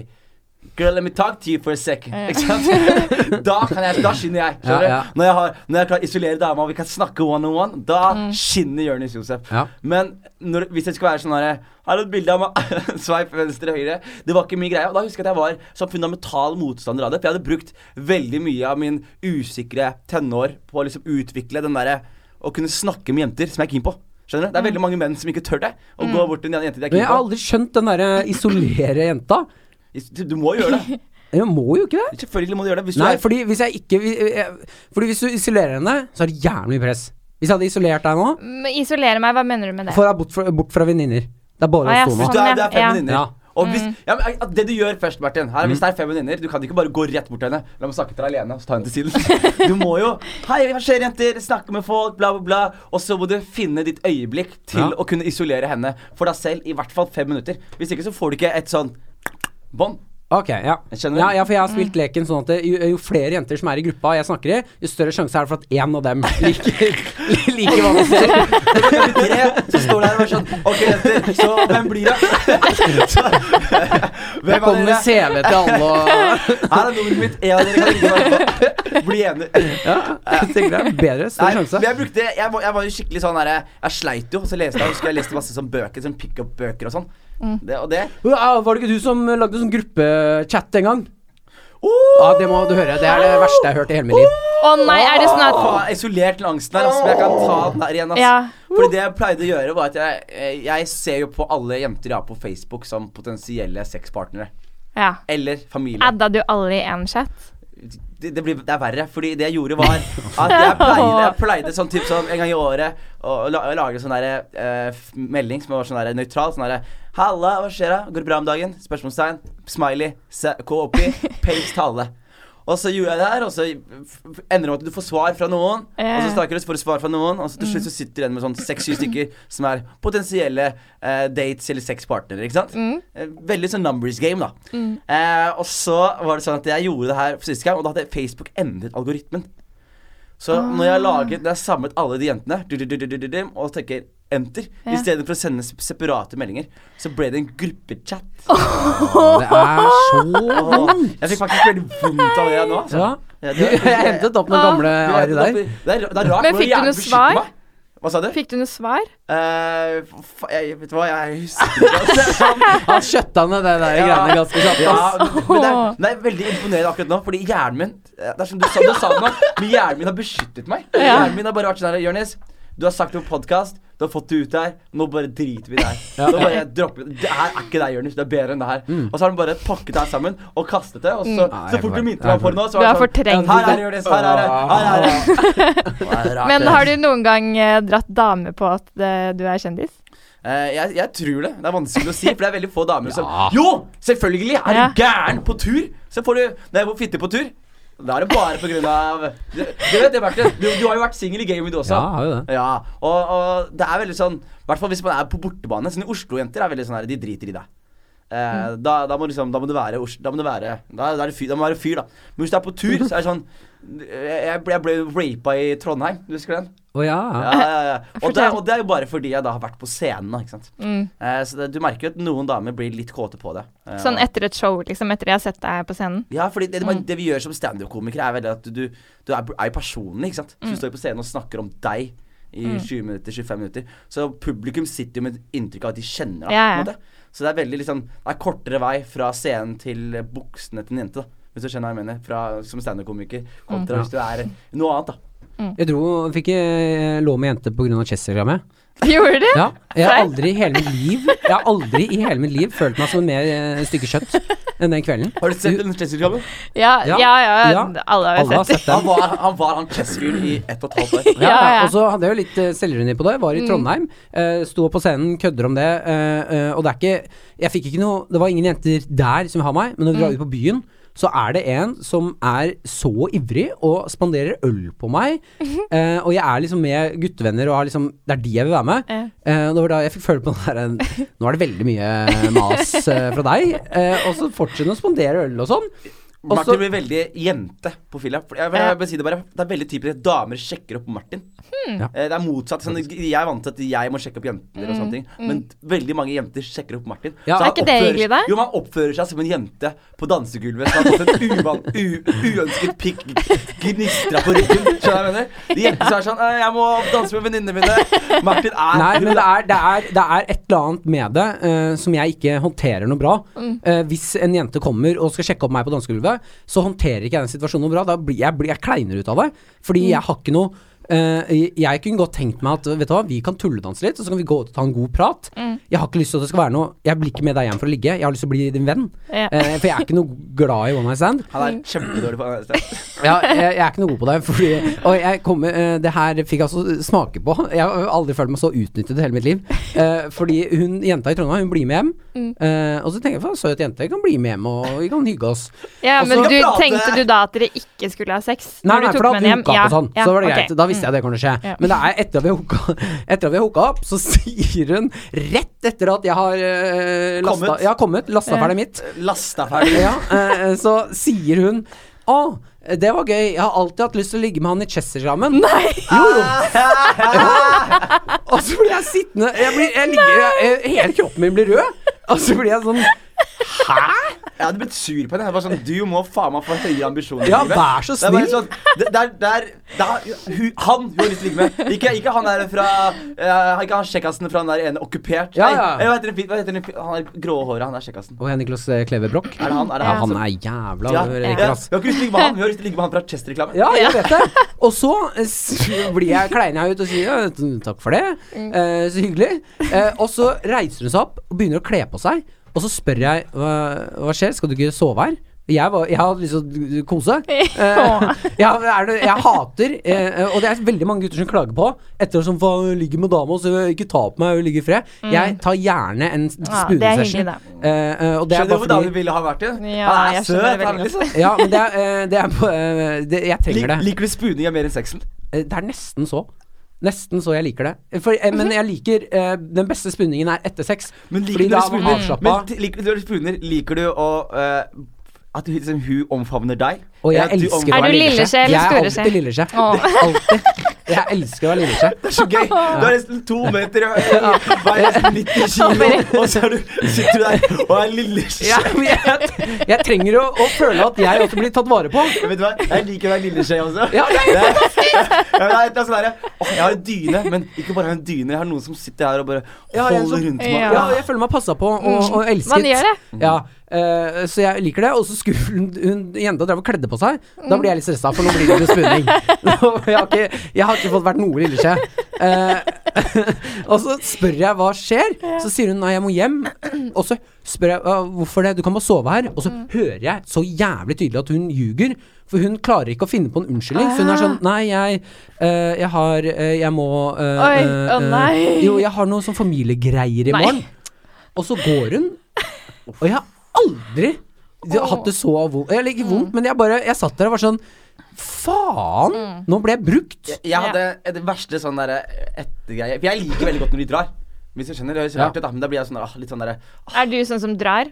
Girl, let me talk to you for a second. Ikke sant? [laughs] da kan jeg, da skinner jeg. skjønner du? Ja, ja. Når, jeg har, når jeg kan isolere dama og vi kan snakke one on one, da skinner Jonis Josef. Mm. Ja. Men når, hvis jeg skal være sånn her Har du et bilde av meg? Sveip venstre høyre. Det var ikke min greie. Og da husker jeg at jeg var sånn fundamental motstander av det. For jeg hadde brukt veldig mye av min usikre tenår på å liksom utvikle den derre å kunne snakke med jenter som jeg er keen på. Skjønner du? Det er veldig mange menn som ikke tør det. Å gå bort til en jente de er Mm. Men keen jeg har på. aldri skjønt den derre isolere jenta. Du- Du må gjøre det. Jeg må jo ikke det. Selvfølgelig må du gjøre det. Hvis du Nei, er fordi hvis jeg ikke jeg- Fordi hvis du isolerer henne, så er det jævlig mye press. Hvis jeg hadde isolert deg nå, Mm, Isolere meg, hva mener du med det? får jeg bort fra, bort fra venninner. Det er bare Ah, ja, oss to nå. Hvis du Sånn, er, ja. det er fem Ja. venninner. Ja. Mm. Og hvis, ja, men, at det du gjør først, Martin her, er Hvis det er fem venninner, du kan ikke bare gå rett bort til henne. La meg snakke til deg alene, så ta henne til siden. [laughs] Du må jo Hei, hva skjer, jenter? Snakke med folk, bla, bla, bla. Og så må du finne ditt øyeblikk til Ja. å kunne isolere henne for deg selv i hvert fall fem minutter. Hvis ikke så får du ikke et sånn bånd. Ok, ja. Jeg skjønner. ja. Ja, for jeg har spilt leken sånn at det, jo, jo flere jenter som er i gruppa jeg snakker i, jo større sjanse er det for at én av [laughs] dem liker, liker hva vi ser. Nummer tre, Så står du her og er sånn Ok, jenter, så hvem blir det? [laughs] Så, Jeg hvem av kommer med dere? CV til alle [laughs] og Her er nummeret mitt. En av dere kan ringe meg. Bli enig. Ja, jeg tenker det er bedre. Større Nei, sjanse. men jeg, brukte, jeg, var, jeg var jo skikkelig sånn derre Jeg sleit jo, og så leste jeg, husker jeg leste masse sånn bøker, sånn pickup-bøker og sånn. Mm. Det, og det Ja, ah, Var det ikke du som lagde sånn gruppechat [laughs] en gang? oh, Ja, det må du høre. Det er det verste jeg har hørt i hele mitt liv. Å nei, er det sånn at Faen, isolert til angsten her, ass. Men jeg kan ta den der igjen, ass. Ja. Fordi det jeg pleide å gjøre, var at jeg, eh, jeg ser jo på alle jenter jeg har på Facebook som potensielle sexpartnere. Ja. Eller familie. Adda du alle i én chat? det, det, blir, det er verre, fordi det jeg gjorde var at jeg pleide, jeg pleide sånn typ sånn en gang i året å å la, å lage sånn derre eh, f- melding som var sånn derre nøytral. Sånn derre Halla, hva skjer da? Går det bra om dagen? Spørsmålstegn. Smiley. se- Gå oppi. Paste tale. Og så gjorde jeg det her, og så f- f- ender det med at du får svar fra noen. Ja. Og så snakker du, så får du svar fra noen, og så til slutt så sitter du igjen med sånn seks-syv stykker som er potensielle eh, dates eller sexpartnere, ikke sant? Eh, Veldig sånn numbers game, da. Mm. Eh, og så var det sånn at jeg gjorde det her for siste gang, og da hadde Facebook endret algoritmen. Så når Ah. jeg har laget, når jeg har samlet alle de jentene du, du, du, du, du, du, og tenker enter, Ja. i stedet for å sende sep- separate meldinger, så ble det en gruppechat. Det er så Og jeg fikk faktisk veldig vondt av det nå. Altså. Ja. Ja, det- [laughs] Jeg hentet opp noen gamle det- arr det- der. det- Det er, det er rart Men hvordan fikk du hjernen noe beskytter svar? meg. Hva sa du? Fikk du noe svar? Eh, fa- jeg, vet du hva, jeg husker [laughs] ikke. altså. Han skjøtta ned det der greiene ganske kjapt. Ja, ass. men men det, er, det er veldig imponerende akkurat nå, fordi hjernen min eh, Det er som du sa, du sa det nå, men hjernen min har beskyttet meg. Hjernen min har bare vært sånn her Jonis, du har sagt det på podkast, du har fått det ut der, nå bare driter vi i det her. Nå bare dropper vi Det her er ikke deg, Jonis, du er bedre enn det her. Og så har han bare pakket det her sammen og kastet det, og så, Nei, så fort Mm. jeg du får- minte meg på det nå, så Du var har det sånn fortrengt Her er det. det, Jonis, her er det, her er det. Nei, det er rart, [laughs] Men det. har du noen gang eh, dratt dame på at eh, du er kjendis? Eh, jeg, jeg tror det. Det er vanskelig å si, for det er veldig få damer som Ja. Jo! Selvfølgelig! Er Ja. du gæren på tur? Så får du Når jeg går fitte på tur, da er det bare på grunn av Du, du vet det, Bertil. Du, du har jo vært singel i gamet du også. Ja, har jo det. Ja, og, og det er veldig sånn I hvert fall hvis man er på bortebane. Sånn Oslo-jenter er veldig sånn her De driter i deg. Eh, Mm. da, da må liksom Da må du være Os- Da må du være Da, da, er det fyr, da må du være fyr, da. Men hvis du er på tur, så er det sånn Jeg, jeg ble- jeg ble rapa i Trondheim. Du husker den? Å ja. Ja, ja, ja. Og, det, Fortell. og det er jo bare fordi jeg da har vært på scenen, da, ikke sant. Eh, så det, du merker jo at noen damer blir litt kåte på det. Eh, Sånn etter et Mm. show, liksom? Etter jeg har sett deg på scenen? ja, fordi det, man, det vi gjør som standup-komikere, er veldig at du, du er, er personlig, ikke sant. Så Mm. du står på scenen og snakker om deg i 20 minutter, 25 minutter. Så publikum sitter jo med et inntrykk av at de kjenner deg. Ja, ja. på en måte. Så det er veldig liksom Det er kortere vei fra scenen til eh, buksene til en jente, da. Hvis du skjønner hva jeg mener. Fra, som standup-komiker Mm. kontra hvis du er noe annet, da. Jeg dro, fikk eh, lov med jente pga. Chess-programmet. Gjorde du? Ja, jeg har aldri i hele mitt liv Jeg har aldri i hele mitt liv følt meg som en mer eh, stykke kjøtt enn den kvelden. Har du sett den Chelsea-kampen? Ja, ja, Ja. ja, Ja. alle har Alle jo har sett det. sett Han den. var han, var han Chess-fyren i ett og et halvt [laughs] år. Ja, Ja, Mm. ja. Og så hadde jeg jo litt eh, selvironi på det. Var i Trondheim. eh, Sto på scenen, kødder om det. Mm. eh, eh, Og det er ikke Jeg fikk ikke noe Det var ingen jenter der som vil ha meg, men når vi drar ut på byen så er det en som er så ivrig og spanderer øl på [laughs] meg. Eh, og jeg er liksom med guttevenner, og har liksom, det er de jeg vil være med. Ja. Eh, og det var da jeg fikk føle [laughs] på den der eh, Nå er det veldig mye mas eh, fra deg. Eh, og så fortsetter han å spandere øl og sånn. Og så- Martin blir veldig jente på fylla. For Jeg, jeg, vil si det, bare, det er veldig typisk at damer sjekker opp Martin. Hmm. Ja. Eh, Det er motsatt. Sånn, jeg er vant til at jeg må sjekke opp jenter, og sånne ting men veldig mange jenter sjekker opp Martin. Ja. Så han Er Hmm. ikke det oppfører- hyggelig, da? Jo, man oppfører seg som en jente på dansegulvet som har fått en uvan, u, uønsket pikk gnistra på ryggen. Skjønner du hva jeg mener? De jentene som er sånn «Eh, 'Jeg må danse med venninnene mine'. Martin er Nei, men det er, det, er, det er et eller annet med det eh, som jeg ikke håndterer noe bra. Eh, hvis en jente kommer og skal sjekke opp meg på dansegulvet, så håndterer ikke jeg den situasjonen noe bra. Da blir jeg, blir jeg kleinere ut av det. Fordi jeg har ikke noe eh, Jeg kunne godt tenkt meg at vet du hva, vi kan tulledanse litt, og så kan vi gå ut og ta en god prat. Jeg har ikke lyst til at det skal være noe Jeg blir ikke med deg hjem for å ligge, jeg har lyst til å bli din venn. [laughs] Ja. Eh, for jeg er ikke noe glad i one night stand. Han er kjempedårlig på det. Ja, jeg, jeg er ikke noe god på det. Fordi, og jeg kommer, eh, det her fikk jeg altså smake på. Jeg har aldri følt meg så utnyttet i hele mitt liv. Eh, fordi hun jenta i Trondheim hun blir med hjem. Mm. Eh, og så tenker jeg faen, søt jente kan bli med hjem, og vi kan hygge oss. Ja, Og men så- du Prate! tenkte du da at dere ikke skulle ha sex? Nei, når nei, du tok for med da hadde vi henne hooka hjem? opp og sånn. Ja, så var det ok. greit. Da visste jeg det kunne skje. Ja. Men det er etter at vi hooka, etter at vi hooka opp, så sier hun rett etter at jeg har eh, lasta, Kommet. kommet. Ja, kommet, lasta Ja. ferdig mitt, Lasta ferdig. ja, eh, så sier hun Å, det var gøy. Jeg har alltid hatt lyst til å ligge med han i Chester sammen. Nei. Jo, jo. Ah! [laughs] Og så blir jeg sittende jeg blir, jeg ligger, jeg, jeg, Hele kroppen min blir rød. [laughs] Og så blir jeg sånn Hæ? Jeg hadde blitt sur på henne. Jeg var sånn, Du må faen meg få høyere ambisjoner. i Ja, livet. vær så Det er bare snill. sånn, det, det er, det er, det er hu, han hun har lyst til å ligge med. Ikke, ikke han der fra eh, Ikke han kjekkasen fra han der ene okkupert. Ja, Nei, ja. eh, Hva heter den, fi- hva heter den fi- han er grå håret, han er kjekkasen. Og Niklas eh, Kleve Broch. Er det han? Er det Ja, han, han som- er jævla ja, ja. Vi har Niklas. ikke lyst til å ligge med han, vi har lyst til å ligge med han fra Chester-reklamen. Ja, jeg vet det. Og så eh, s- blir jeg kleina ut og sier ja, t- takk for det, Mm. eh, så hyggelig. Eh, og så reiser hun seg opp og begynner å kle på seg. Og så spør jeg hva, hva skjer, skal du ikke sove her? Jeg, var, jeg hadde lyst til å [laughs] kose. Eh, ja, er det, jeg hater eh, Og det er veldig mange gutter som klager på Etter å sånn, faen, jeg ligger med dama, så ikke ta på meg, jeg ligger i fred. Jeg tar gjerne en Mm. Ja, det er spoonesession. hyggelig, Eh, eh, og det er Skjønner du bare hvor damen fordi ville ha vært igjen? Ja, han er jeg skjønner søt. det Han, veldig liksom. ja, men det er, eh, det er på, eh, det, Jeg trenger det. Lik, liker du spooninga mer enn sexen? Eh, Det er nesten så. Nesten så jeg liker det. For, eh, Mhm. men jeg liker eh, Den beste spunningen er etter sex. Men liker fordi du da når du er man spooner- avslappa. men t- liker du når du spooner, liker du å eh, at hun, liksom, hun omfavner deg? Og jeg Eller at du elsker omfavner- Er du lilleskje eller Jeg er storeskje? alltid lilleskje. Alltid. Jeg elsker å være lilleskje. Det er så gøy. Du er nesten to meter og veier nesten 90 kilo, og så er du, sitter du der og er lille Ja, skje. men jeg, jeg trenger å, å føle at jeg også blir tatt vare på. Vet du hva? Jeg liker å være lille skje også. Ja, Det er- Ja, men det er et eller annet sånn derre, «Åh, Jeg har en dyne, men ikke bare har jeg en dyne, jeg har noen som sitter her og bare Ja, jeg er holder sånn- rundt meg. Ja. Ja, jeg føler meg passa på og, og elsket. Mm. Man gjør det. Mm. Ja, eh, så jeg liker det. Og så skulle hun, hun jenta drev og kledde på seg. Da blir jeg litt stressa, for nå blir det jo [laughs] spunning. Nå- jeg, har ikke, jeg har ikke fått vært noe lilleskje. Eh, [laughs] og så spør jeg hva skjer. Så sier hun nei, jeg må hjem. Og så spør jeg «Hva, hvorfor det, du kan bare sove her. Og så Mm. hører jeg så jævlig tydelig at hun ljuger. For hun klarer ikke å finne på en unnskyldning. Så hun er Ah. sånn nei, jeg, eh, jeg har eh, Jeg må eh, Oi, eh, å eh, nei. Jo, jeg har noen sånn familiegreier i Nei. morgen. Og så går hun og jeg har aldri hatt det så vondt Eller ikke vondt, men jeg bare Jeg satt der og var sånn Faen! Mm. Nå ble jeg brukt. Jeg hadde det verste sånn derre ettergreie For jeg liker veldig godt når de drar. Hvis du skjønner, det høres Ja. rart ut, da, men da blir jeg sånn der, «Åh, litt sånn derre Er du sånn som drar?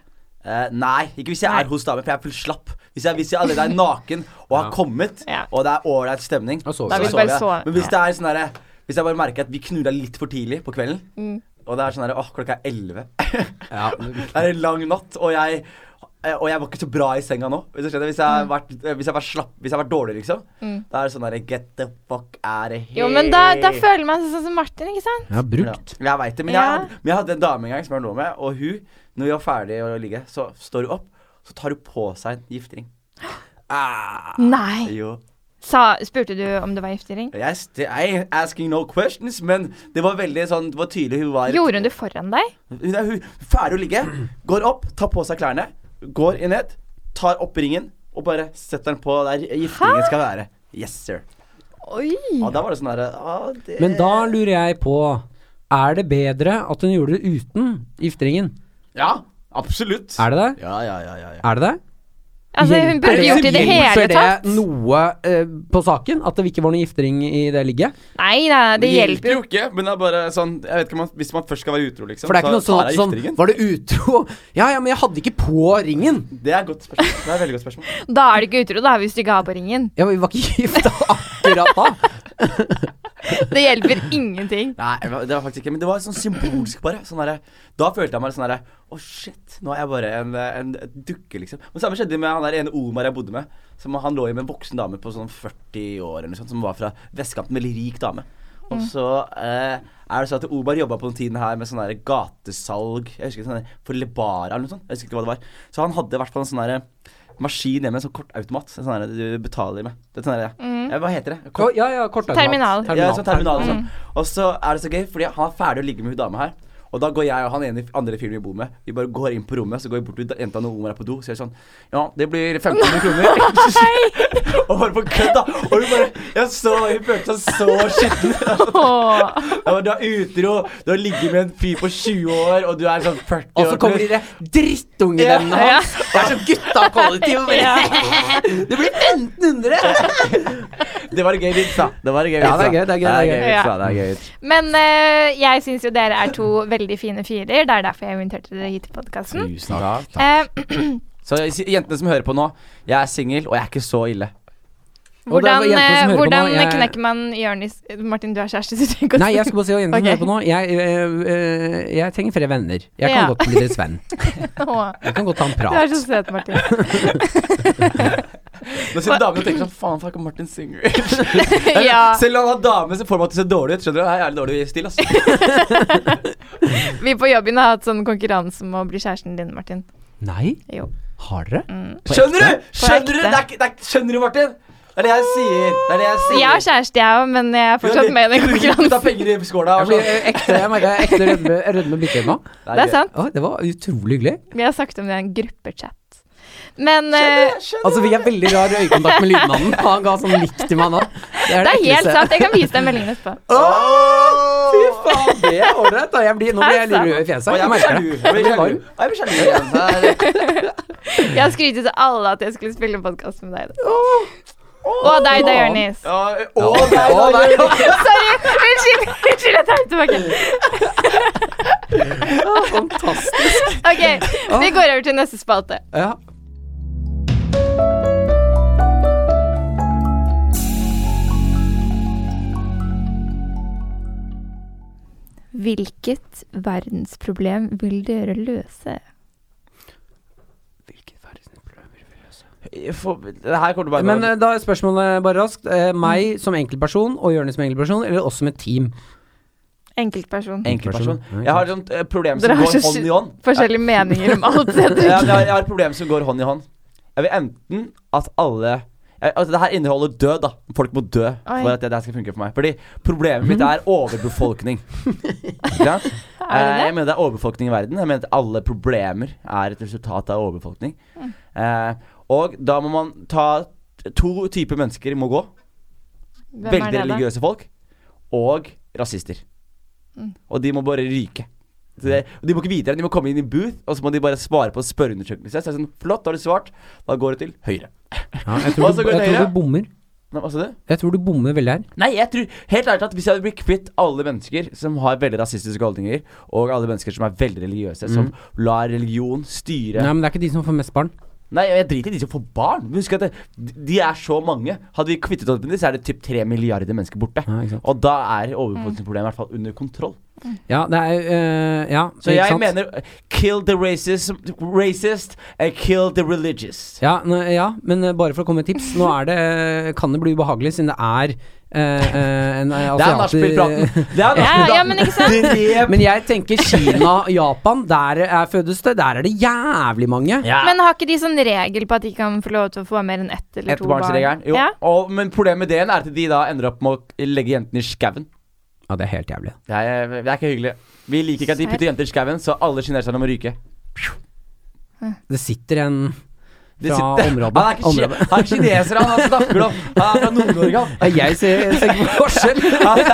Eh, nei, ikke hvis jeg er hos damer, for jeg er full slapp. Hvis jeg, hvis jeg allerede er naken og har Ja. kommet, Ja. og det er ålreit stemning, Da sover så jeg. Da vil du bare sover jeg. sove. Men hvis det er sånn derre Hvis jeg bare merker at vi knulla litt for tidlig på kvelden, Mm. og det er sånn derre Åh, klokka er elleve. [laughs] det er en lang natt, og jeg eh, og jeg var ikke så bra i senga nå. Hvis du skjønner Hvis jeg Mm. har vært, eh, hvis jeg har vært slapp Hvis jeg har vært dårlig, liksom. Da er det sånn derre Get the fuck out of here. Jo, men da, da føler man seg sånn som Martin, ikke sant? Jeg har Ja, brukt. jeg vet det, men, Ja. jeg, hadde, men jeg hadde en dame en gang som jeg lå med, og hun, når vi var ferdig å ligge, så står hun opp, så tar hun på seg en giftering. Nei. Jo. Sa, spurte du om det var giftering? Jeg st I ain't asking no questions, men det var veldig sånn, det var tydelig hun var Gjorde hun det foran deg? Hun er hun, ferdig å ligge, går opp, tar på seg klærne, går inn ned, tar opp ringen og bare setter den på der gifteringen skal være. Yes, sir. Oi. Og da var det sånn derre ah, det- Men da lurer jeg på Er det bedre at hun gjorde det uten gifteringen? Ja, absolutt. Er det det? Ja, ja, ja, ja, ja. Er det det? Altså, hun burde ikke gjort det i det hele Hjelper tatt. det noe eh, på saken? At det ikke var noe giftering i det ligget? Nei, nei, det hjelper jo. jo ikke, men det er bare sånn jeg vet ikke, om man, Hvis man først skal være utro, liksom For det er ikke noe så sånn, tar jeg sånn gifteringen. Var du utro? Ja, ja, men jeg hadde ikke på ringen. Det er et godt spørsmål. Det er et veldig godt spørsmål. Da er du ikke utro, da, hvis du ikke har på ringen. Ja, men vi var ikke [laughs] gift akkurat da. Det [laughs] hjelper ingenting. Nei, det var- det var faktisk ikke Men det var sånn symbolsk, bare. Sånn derre- da følte jeg meg sånn derre Å, shit. Nå er jeg bare en, eh, en dukke, liksom. Men samme skjedde med han der ene Omar jeg bodde med. Som Han lå jo med en voksen dame på sånn 40 år eller noe sånt, som var fra vestkanten. Veldig rik dame. Og så eh, er det sånn at Omar jobba på den tiden her med sånn derre gatesalg Jeg husker ikke sånn der, For Lebara eller noe sånt. Jeg husker ikke hva det var. Så han hadde i hvert fall en sånn derre maskin hjemme, en sånn kortautomat. En sånn derre du betaler med. Det er sånn derre ja, Hva heter det? Ko- Ja, ja, kortautomat. Terminal. Ja, sånn terminal og sånn. Og så er det så gøy, fordi han er ferdig å ligge med hun dama her. Og da går jeg og han ene andre fyren vi bor med, vi bare går inn på rommet, så går vi bort til jenta når Omar er på do, så gjør jeg sånn Ja, det blir 1500 kroner. [laughs] og bare på kødd, da. Og hun bare Jeg så Hun følte seg så skitten. Åh. Jeg bare, Du er utro, du har ligget med en fyr på 20 år, og du er sånn 40 år Og så kommer de der drittungevennene Ja. hans. Det er så gutta kollektiv. Det blir 1500! Det var en gøy vits, da. Det var en gøy Ja, vits, det er da. gøy, det er gøy, det er gøy. vits, da. Det er gøy vits. Men eh, jeg syns jo dere er to veldig fine fyrer. Det er derfor jeg inviterte dere hit til podkasten. Tusen takk. Eh, Så jentene som hører på nå, jeg er singel, og jeg er ikke så ille. Og det er hvordan jentene som eh, hører på hvordan nå, jeg- knekker man Jonis Martin, du er kjæreste, så du trenger ikke å Nei, jeg skal bare si hva jentene Ok. hører på nå. Jeg, øh, øh, jeg trenger flere venner. Jeg kan Ja. godt bli deres venn. Åh, Jeg kan [laughs] godt ta en Du er prat. så søt, [laughs] Martin. [laughs] Nå sitter damene og tenker sånn Faen, fuck, Martin [laughs] Singer. ja, Selv om han har dame, så får man til å se dårlig ut. Skjønner du? Det er jævlig dårlig stil, [laughs] ass. vi på jobben har hatt sånn konkurranse om å bli kjæresten din, Martin. Nei, Jo. har dere? Skjønner du? Skjønner du? ekte. Det er, ikke- det er, ikke- skjønner du, Martin? Det er det jeg sier. Det er det jeg sier. Jeg har kjæreste, jeg òg, men jeg er fortsatt med [laughs] i den Du konkurransen. penger i skåla. Jeg og blir sånn. øh, ekte, jeg merker jeg er ekte rødme, rødme i blikket nå. Det er sant. Å, det var utrolig hyggelig. Vi har sagt om det i en gruppechat. Men eh, Altså, fikk jeg veldig rar øyekontakt med lydmannen. Han ga sånn nikk til meg nå. det er helt ekleste. sant. Jeg kan vise deg meldingen [laughs] etterpå. Åh, Fy faen, det er ålreit. da. Jeg blir- Nå blir jeg litt rød i fjeset. Og Jeg jeg blir merker sjalu. det. Jeg blir Jeg blir sjalu. varm. Jeg blir sjalu igjen. så er det- Jeg har skrytt til alle at jeg skulle spille podkast med deg. i dag. Og deg da, Jonis. Ja, Å, Å, nei, å, nei, nei. Sorry. Unnskyld. Unnskyld, jeg tar det tilbake. Fantastisk. Ok, vi går over til neste spalte. Ja. Hvilket verdensproblem vil dere løse? Jeg får- Det her kommer til å bare Men eh, da er spørsmålet bare raskt. Eh, meg som enkeltperson og Jonis som enkeltperson, eller oss som et team? eh, Enkeltperson. Enkeltperson. Jeg har et sånt eh, problem som Dere har går så hånd i hånd. forskjellige meninger om [laughs] alt. Jeg jeg, tror. jeg, jeg har et problem som går hånd i hånd. Jeg vil enten at alle jeg, altså Det her inneholder død, da. Folk må dø for at det der skal funke for meg. Fordi problemet mitt er overbefolkning. Ikke sant? Eh, Jeg mener det Mhm. [laughs] er overbefolkning i verden. Jeg mener at alle problemer er et resultat av overbefolkning. Eh, og da må man ta To typer mennesker må gå. Hvem er Veldig det, da? religiøse folk. Og rasister. Mm. Og de må bare ryke. Så det, og de må ikke vite det, de må komme inn i booth, og så må de bare svare på spørreundersøkelse. Så det er sånn, flott, da har du svart. Da går det til høyre. Ja, jeg [laughs] tror, Og så du, går jeg tror dere. du bommer. Nei, Hva sa du? Jeg tror du bommer veldig her. Nei, jeg tror helt ærlig at hvis jeg hadde blitt kvitt alle mennesker som har veldig rasistiske holdninger, og alle mennesker som er veldig religiøse, som lar religion styre Nei, Mm. Nei, men det er ikke de som får mest barn. jeg driter i de som får barn. Men Husk at det, de er så mange. Hadde vi kvittet oss med dem, så er det typ tre milliarder mennesker borte. Ja, ikke sant. Og da er overbefolkningsproblemet i hvert fall under kontroll. Ja, det er eh, Ja, Så ikke jeg sant? mener uh, kill the racist, racist and kill the religious. ja, nå- ja, men eh, bare for å komme med et tips. Nå er det eh, Kan det bli ubehagelig, siden det er eh, eh, en [laughs] eh, Det er asiater- nachspiel-praten. [laughs] Det er Ja, ja, men nachspiel-praten. [laughs] ikke sant? Drep- [laughs] Men jeg tenker Kina, Japan, der er fødes det. Der er det jævlig mange. Ja. Men har ikke de sånn regel på at de kan få lov til å få mer enn ett eller to barn? Ettbarnsregelen. Jo. Ja? Og, men problemet med det er at de da ender opp med å legge jentene i skauen. Ja, det er helt jævlig. Det, er- det er ikke hyggelig. Vi liker ikke at de putter jenter i skauen, så alle kineserne må ryke. Det sitter en De Fra området. [laughs] Han er ikke, Området. ki- han er kineser, han er snakker om. Han er fra Nord-Norge, han. Ja, Jeg ser, ser ikke forskjell. Han er-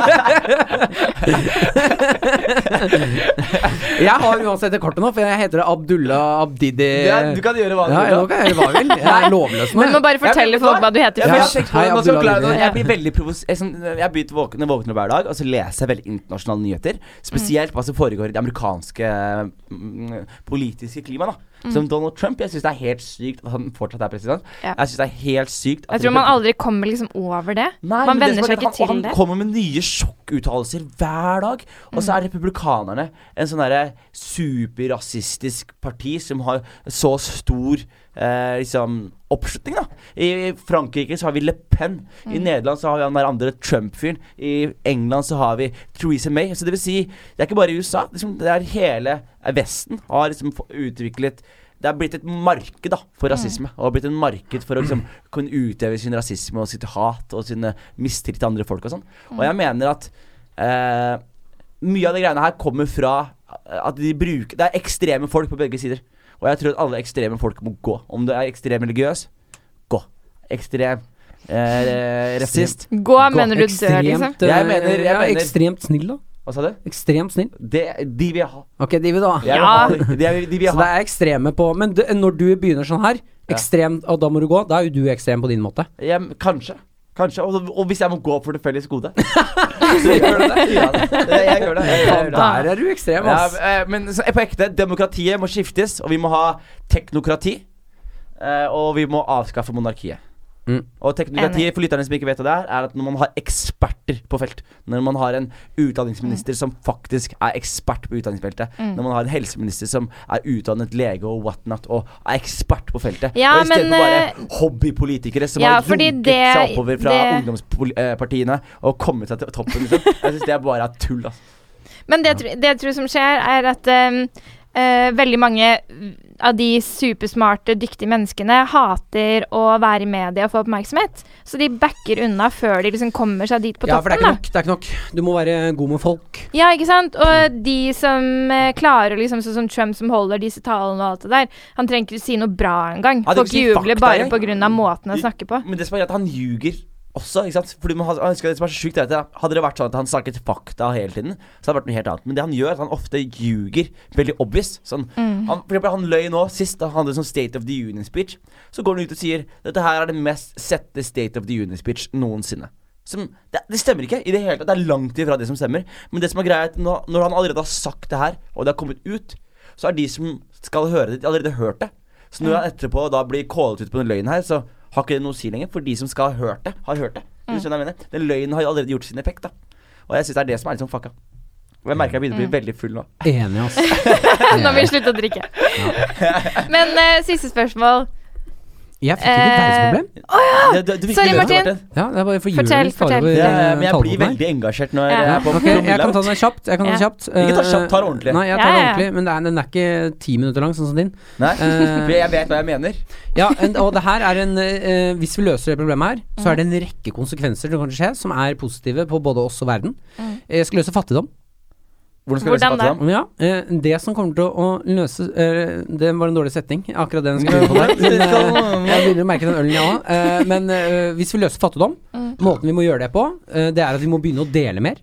Jeg har uansett det kortet nå, for jeg heter Abdullah Abdidi Ja, du kan gjøre hva du Eh, Ja, vil, da. nå kan jeg gjøre hva jeg vil. Jeg er lovløs nå. Men må jeg. bare fortelle folk hva du heter. Ja, Jeg, først. jeg, hei, jeg, Abdullah Abdullah. jeg blir veldig provos... Jeg, sånn, jeg begynte våkne, våkner hver dag, og så leser jeg veldig internasjonale nyheter. Spesielt hva som foregår i det amerikanske mm, politiske klimaet, da. Som Donald Trump. Jeg syns det er helt sykt at han fortsatt er president. Mm. Ja. Jeg synes det er helt sykt at Jeg tror man aldri kommer liksom over det. Nei, man men det venner som er seg at ikke han, til det. og Han kommer med nye sjokkuttalelser hver dag. Og så er Mm. republikanerne en sånn derre superrasistisk parti som har så stor eh, liksom oppslutning, da. I Frankrike så har vi Le Pen. Mm. I Nederland så har vi han der andre Trump-fyren. I England så har vi Theresa May. Så det vil si, det er ikke bare i USA. Liksom, det er hele Vesten har liksom få- utviklet det er blitt et marked da, for rasisme. Og det har blitt en marked for å liksom, kunne utøve sin rasisme og sitt hat og sin eh, mistillit til andre folk og sånn. Og jeg mener at eh, mye av de greiene her kommer fra eh, at de bruker Det er ekstreme folk på begge sider. Og jeg tror at alle ekstreme folk må gå. Om du er ekstrem religiøs, gå. Ekstrem eh, rasist. Gå, mener du dør, liksom? eh, Jeg mener- jeg ja, mener- Ekstremt snill, da. Hva sa du? Ekstremt snill. Det, de vil jeg ha. Ok, de vil da. Jeg vil Ja. ha de, de, vil jeg Så det ha. er ekstreme på Men du, når du begynner sånn her, ekstrem, og da må du gå, da er jo du ekstrem på din måte. Ja, men kanskje. Kanskje. Og, og hvis jeg må gå for det felles gode, [laughs] så gjør det det. Ja, det- Jeg gjør det. Jeg gjør det. Der er du ekstrem, ass. Ja, eh, men så, på ekte, demokratiet må skiftes, og vi må ha teknokrati. eh, Og vi må avskaffe monarkiet. Mm. Og teknokratiet Enig. for lytterne som ikke vet hva det er, er at når man har eksperter på felt, når man har en Mm. utdanningsminister som faktisk er ekspert på utdanningsfeltet, når man har en helseminister som er utdannet lege og whatnot, og er ekspert på feltet, Ja, og i stedet men, for eh, bare hobbypolitikere som ja, har fordi lunket det- seg oppover fra det- ungdomspartiene og kommet seg til toppen, liksom. Jeg syns det bare er tull, altså. Men det, jeg tror- det jeg tror som skjer, er at ehm, eh, veldig mange av de supersmarte, dyktige menneskene hater å være i media og få oppmerksomhet. Så de backer unna før de liksom kommer seg dit på Ja, for det er toppen. ikke da. nok. Det er ikke nok. Du må være god med folk. [laughs] Ja, ikke sant? Og de som eh, klarer liksom, sånn som Trump som holder disse talene og alt det der, han trenger ikke si noe bra engang. Ja, det vil Folk si jubler fakta, bare jeg. pga. måten han snakker på. Men det som er greit, han ljuger også, ikke sant? Fordi man har, jeg husker det som er så sykt, er at det- Hadde det vært sånn at han snakket fakta hele tiden, så hadde det vært noe helt annet. Men det han gjør, er at han ofte ljuger veldig obvious. Sånn, Mm. han, for eksempel, han løy nå sist, da han hadde sånn State of the Union speech. Så går han ut og sier dette her er det mest sette State of the Union speech noensinne. Som, det, det stemmer ikke i det hele tatt. Det er langt ifra det som stemmer. Men det som er greia, er at nå, når han allerede har sagt det her, og det har kommet ut, så er de som skal høre det, de har allerede hørt det. Så når han etterpå da blir callet ut på den løgnen her, så har ikke det noe å si lenger. For de som skal ha hørt det, har hørt det. Du skjønner Mm. hva jeg mener? Den løgnen har jo allerede gjort sin effekt, da. Og jeg syns det er det som er liksom fucka. Og jeg merker jeg begynner å bli Mm. veldig full nå. Enig, ass. [laughs] Nå vil vi slutte å drikke. Men eh, siste spørsmål. Jeg fikk ikke et Eh, verdensproblem. Det- det- du fikk Sorry, det, Martin. Ja, det er bare for fortell, julen faller fortell. over, Ja, eh, men jeg blir tallboken her. veldig engasjert når Ja. jeg er på Ok, jeg kan ta den kjapt. Jeg kan ta Ja. den kjapt. Eh, Ikke ta kjapt, ta den ordentlig. Nei, jeg tar Ja, ja, den ja. ordentlig, men det er, den er ikke ti minutter lang, sånn som din. Nei, Eh, for jeg vet hva jeg mener. Ja, en, og det her er en eh, Hvis vi løser det problemet her, så er det en rekke konsekvenser som kan skje, som er positive på både oss og verden. Mm. Eh, Jeg skal løse fattigdom. Hvordan skal vi løse Hvordan da? fattigdom? Ja, eh, det som kommer til å løse eh, Det var en dårlig setning, akkurat den [laughs] jeg skulle begynne på der. Mm. Men, eh, jeg begynner å merke den ølen, jeg òg. Eh, men eh, hvis vi løser fattigdom, måten vi må gjøre det på, eh, det er at vi må begynne å dele mer.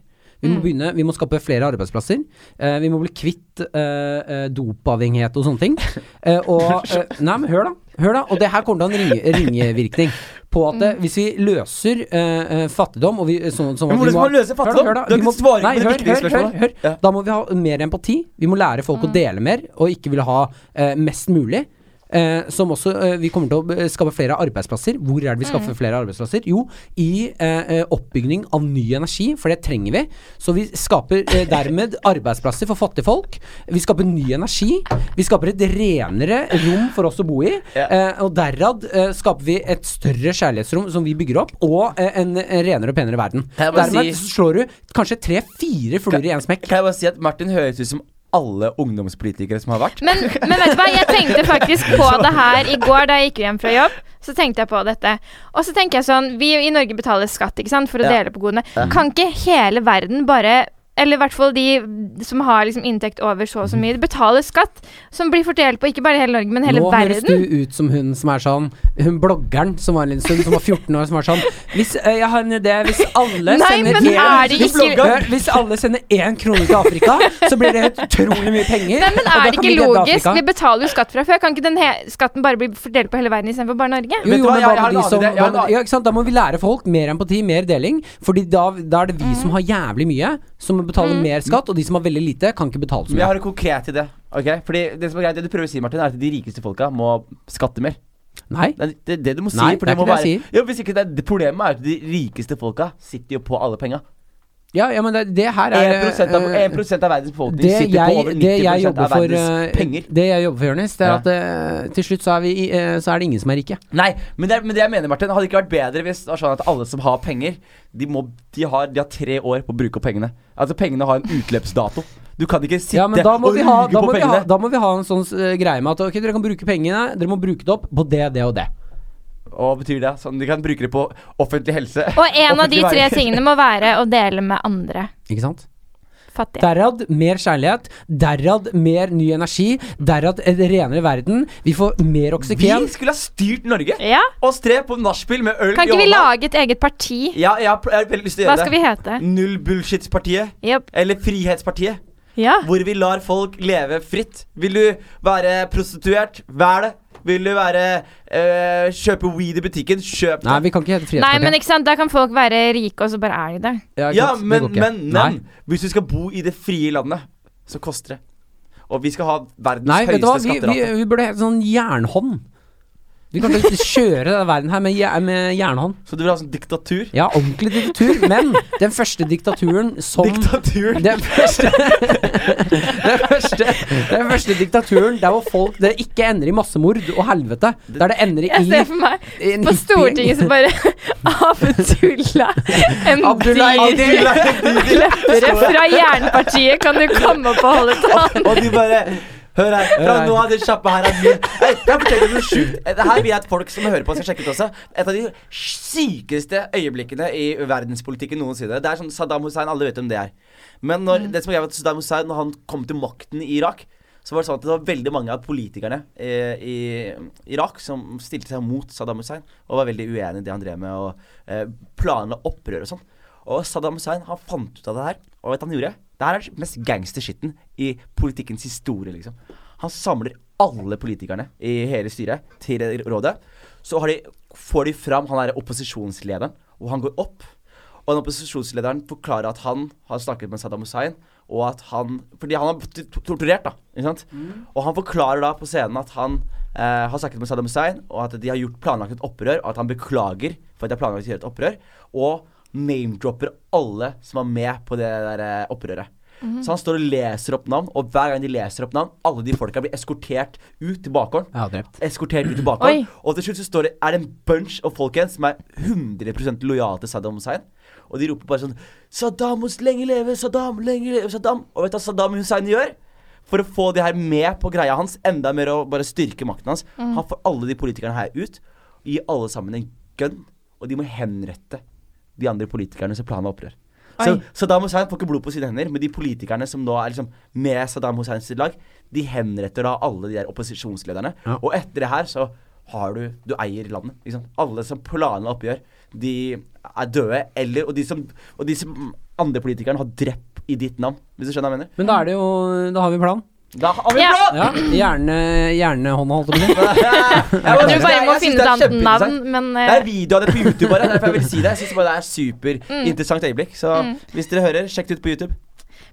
Vi må, begynne, vi må skape flere arbeidsplasser. Eh, vi må bli kvitt eh, eh, dopavhengighet og sånne ting. Eh, og, eh, nei, men hør da. Hør da. Og det her kommer til å ha en ringe, ringevirkning på at eh, hvis vi løser eh, eh, fattigdom og vi, sånn, sånn Men at vi hvordan skal må- man løse Hør da, fattigdom? hør da, Du har vi ikke må- svaret på Nei, det hør, viktige hør, spørsmålet. Hør, hør. Ja. Mm. Da må vi ha mer empati. Vi må lære folk å dele mer, og ikke ville ha eh, mest mulig. Eh, som også eh, Vi kommer til å eh, skape flere arbeidsplasser. Hvor er det vi Mm. skaffer flere arbeidsplasser? Jo, i eh, eh, oppbygging av ny energi, for det trenger vi. Så vi skaper eh, dermed [laughs] arbeidsplasser for fattige folk. Vi skaper ny energi. Vi skaper et renere rom for oss å bo i. Ja. Eh, og derad eh, skaper vi et større kjærlighetsrom som vi bygger opp, og eh, en, en renere og penere verden. Kan jeg bare Dermed si- slår du kanskje tre-fire fluer i én smekk. Kan jeg bare si at Martin høres ut som alle ungdomspolitikere som har vært? Men, men vet du hva, jeg tenkte faktisk [laughs] på det her i går da jeg gikk hjem fra jobb. Så tenkte jeg på dette. Og så tenker jeg sånn Vi i Norge betaler skatt ikke sant, for å Ja. dele på godene. Kan ikke hele verden bare eller i hvert fall de som har liksom inntekt over så og så mye, betaler skatt som blir fordelt på ikke bare hele Norge, men hele Mm. Nå verden. høres du ut som hun som er sånn Hun bloggeren som var en liten stund, som var 14 år, som var sånn Hvis eh, jeg har en idé Hvis alle Nei, sender men én- er det Hun ikke- blogger, Hvis alle sender én krone til Afrika, så blir det utrolig mye penger. Nei, men og er da det kan ikke vi redde logisk? Afrika. Vi betaler jo skatt fra før. Kan ikke den he skatten bare bli fordelt på hele verden istedenfor bare Norge? Jo, Vet jo, du hva, jeg- men hva jeg har en med de annen som idé, jeg har hva en med, annen- ja, ikke sant? Da må vi lære folk mer empati, mer deling. Fordi da, da er det vi som har jævlig mye, som Mm. betaler mer skatt. Og de som har veldig lite, kan ikke betale så Men jeg mye. har en konkret idé. ok? Fordi Det som er greit, det du prøver å si, Martin, er at de rikeste folka må skatte mer. Nei. Det er det, det du må si. Nei, for det er må ikke det jeg være- Jo, hvis ikke det, er- det Problemet er at de rikeste folka sitter jo på alle penga. Ja, ja, men det, det her er 1 av, eh, 1 av verdens befolkning det sitter på jeg, over det 90 jeg jobber av for, verdens eh, penger. det jeg jobber for, Jonis, det er at eh, til slutt så er, vi, i- eh, så er det ingen som er rike. Nei, men det, er- men det jeg mener, Martin, hadde ikke vært bedre hvis det var sånn at alle som har penger, de, må, de, har, de har tre år på å bruke opp pengene. Altså, pengene har en utløpsdato. Du kan ikke sitte Ja, men da må, og vi ha, ruge da, på må vi ha, pengene. da må vi ha en sånn eh, greie med at ok, dere kan bruke pengene, dere må bruke det opp på det, det og det. Hva betyr det? Sånn, de kan bruke det på offentlig helse. Og en av de offentlig tre veier. tingene må være å dele med andre Ikke sant? fattige. Derad mer kjærlighet, derad mer ny energi, derad en renere verden. Vi får mer oksygen. Vi skulle ha styrt Norge! Ja? Oss tre på nachspiel med øl Kan i ikke vi hånda. lage et eget parti? Ja, jeg har pl- jeg har veldig lyst til å Hva gjøre skal vi hete? det. Null bullshit-partiet. Jep. Eller Frihetspartiet. Ja. Hvor vi lar folk leve fritt. Vil du være prostituert? Vær det. Vil du være eh, kjøpe weed i butikken? Kjøp det. Nei, vi kan ikke hete Nei, men Frihetspartiet. ikke sant, da kan folk være rike, og så bare er de det. Ja, ikke ja, sant? Det men, går ikke. men, men Nei. hvis du skal bo i det frie landet, så koster det. Og vi skal ha verdens Nei, vet du hva, høyeste vi, vi, skatterate. vi burde hete sånn jernhånd. Vi kan ikke kjøre denne verden her med, jer- med jernhånd. Så du vil ha sånn diktatur? Ja, ordentlig diktatur, men den første diktaturen som Diktatur! Den første, den, første, den første diktaturen der hvor folk Det ikke ender i massemord og helvete. Der det ender i Jeg ser for meg i en på hippie- Stortinget så bare [laughs] Abdullah en Abdullah dyr kleppere fra Jernpartiet, kan du komme opp og holde tale? [laughs] Og de bare Hør her, fra Hør her. nå av den sjappa her er min. Hei, Kan jeg fortelle deg noe sjukt? Det her vil jeg at folk som hører på, skal sjekke ut også. Et av de sykeste øyeblikkene i verdenspolitikken noensinne. Det er sånn Saddam Hussein, alle vet hvem det er. Men når, det som jeg vet, Saddam Hussein, når han kom til makten i Irak, så var det sånn at det var veldig mange av politikerne eh, i Irak som stilte seg mot Saddam Hussein, og var veldig uenig i det han drev med, og eh, planene opprør og sånn. Og Saddam Hussein han fant ut av det her. Og vet du hva han gjorde? Det her er den mest gangsterskitten i politikkens historie, liksom. Han samler alle politikerne i hele styret til rådet. Så har de, får de fram han er opposisjonslederen, og han går opp. Og den opposisjonslederen forklarer at han har snakket med Saddam Hussein, og at han Fordi han har blitt t- torturert, da. Ikke sant? Og han forklarer da på scenen at han eh, har snakket med Saddam Hussein, og at de har gjort planlagt et opprør, og at han beklager for at de har planlagt å gjøre et opprør. Og name-dropper alle som var med på det der eh, opprøret. Så han står og leser opp navn, og hver gang de leser opp navn, alle de folka blir eskortert ut til bakgården Jeg har drept. eskortert ut i bakgården. Oi. Og til slutt så står det, er det en bunch av folk igjen som er 100 lojale til Saddam Hussein. Og de roper bare sånn Saddam Hus, lenge leve! Saddam, lenge leve! Saddam! Og vet du hva Saddam Hussein gjør? For å få de her med på greia hans, enda mer å bare styrke makten hans. Han får alle de politikerne her ut, og gir alle sammen en gun, og de må henrette de andre politikerne som planen opprør. Så Oi. Saddam Hussein får ikke blod på sine hender, men de politikerne som nå er liksom med Saddam Husseins lag, de henretter da alle de der opposisjonslederne. Ja. Og etter det her så har du Du eier landet. Ikke sant? Alle som planla oppgjør, de er døde. Eller Og de som, og de som andre politikerne har drept i ditt navn, hvis du skjønner hva jeg mener. Men da er det jo Da har vi plan. Da har vi Ja. [laughs] plan! Ja, Hjerne, hjernehånda, holdt jeg på å si. Du Jeg synes det bare er- må jeg synes finne det et er annet navn, Mm. kjempeinteressant. men Det eh, er video av det på YouTube, bare. Derfor jeg vil si det. Jeg synes bare det er superinteressant øyeblikk. Så Mm. hvis dere hører, sjekk det ut på YouTube.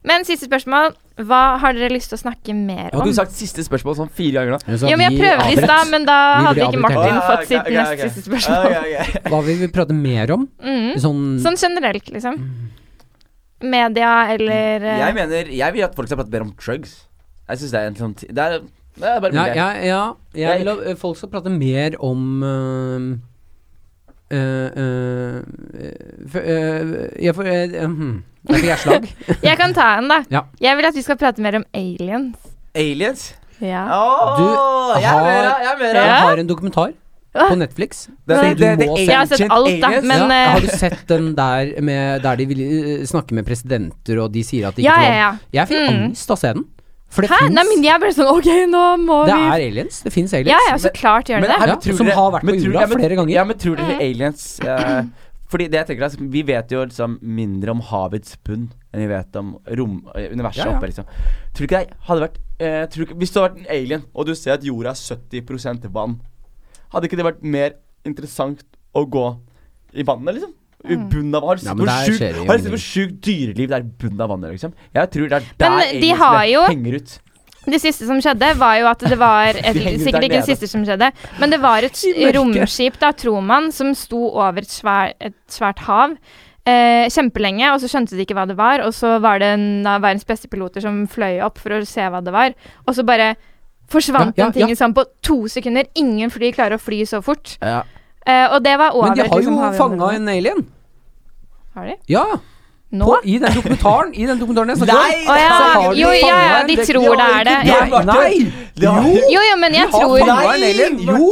Men siste spørsmål. Hva har dere lyst til å snakke mer om? Hadde du sagt siste spørsmål sånn fire ganger nå? Ja, men jeg prøvde i stad, men da Vi hadde ikke blir avbrutt. Martin Ah, fått ok, sitt ok, nest ok. siste spørsmål. Ok, [laughs] ok. Hva vil vi prate mer om? Mm. Sånn, Mm. Sånn generelt, liksom. Media eller eh, Jeg mener Jeg vil at folk skal prate mer om drugs. Jeg synes det er en sånn ti- Det er, det er bare ja, mulig. ja, ja, jeg Jeg- vil at eh, folk skal prate mer om eh, øh, øh, øh, for- øh, jeg får øh, øh, hm. Der fikk jeg slag. Jeg kan ta en, da. Ja. Jeg vil at vi skal prate mer om aliens. Aliens? Ja. Åh, Du jeg er med har- deg, jeg er med Jeg deg. [laughs] Ja. har en dokumentar på Netflix. Det- som det- du det- det må er- Jeg har sett Ancient alt, da, aliens? men ja, eh, har du sett den der med, der de vil, eh, snakker med presidenter, og de sier at de ikke Ja, får ja, lov? ja. Jeg fikk Mm. angst av å se den. For det Hæ? Nei, men fins. jeg ble sånn OK, nå må Det vi er aliens. Det fins aliens. Ja, ja, så klart gjør det det. Mm. her- Ja, tror som har vært på men tror- jorda ja, men- flere ganger. Ja, men tror dere aliens eh, Fordi det jeg tenker altså, Vi vet jo liksom mindre om havets bunn enn vi vet om rom, eh, universet Ja, ja. oppe. liksom Tror du ikke det hadde vært eh, tror du ikke, Hvis du hadde vært en alien, og du ser at jorda er 70 vann, hadde ikke det vært mer interessant å gå i vannet, liksom? I Mm. bunnen av Har du Ja, sett men hvor der skjer det jo sjukt- har du sett ingenting. hvor sjukt dyreliv det er i bunnen av vannet, liksom? Jeg tror det er der Men de aliensene har jo- henger ut. Det siste som skjedde, var jo at det [laughs] var et, De henger ut Sikkert der ikke det nede. siste som skjedde, men det var et mørket. romskip, da, tror man, som sto over et, svær, et svært hav. Eh, kjempelenge, og så skjønte de ikke hva det var. Og så var det en av verdens beste piloter som fløy opp for å se hva det var. Og så bare forsvant Ja, ja, den tingen ja. sånn på to sekunder. Ingen fly klarer å fly så fort. Ja. Eh, og det var over. Men de har liksom, jo havområdet. fanga en alien. Har de? Ja. Nå? På, I den dokumentaren. I den dokumentaren jeg snakker om. Nei! Å ja. Så har de Jo, ja, ja, fanget de en- tror det er det. Ja. Ja. Nei, Martin. Nei! Det har- Jo! Jo, jo, men jeg har tror fanga en alien. Jo!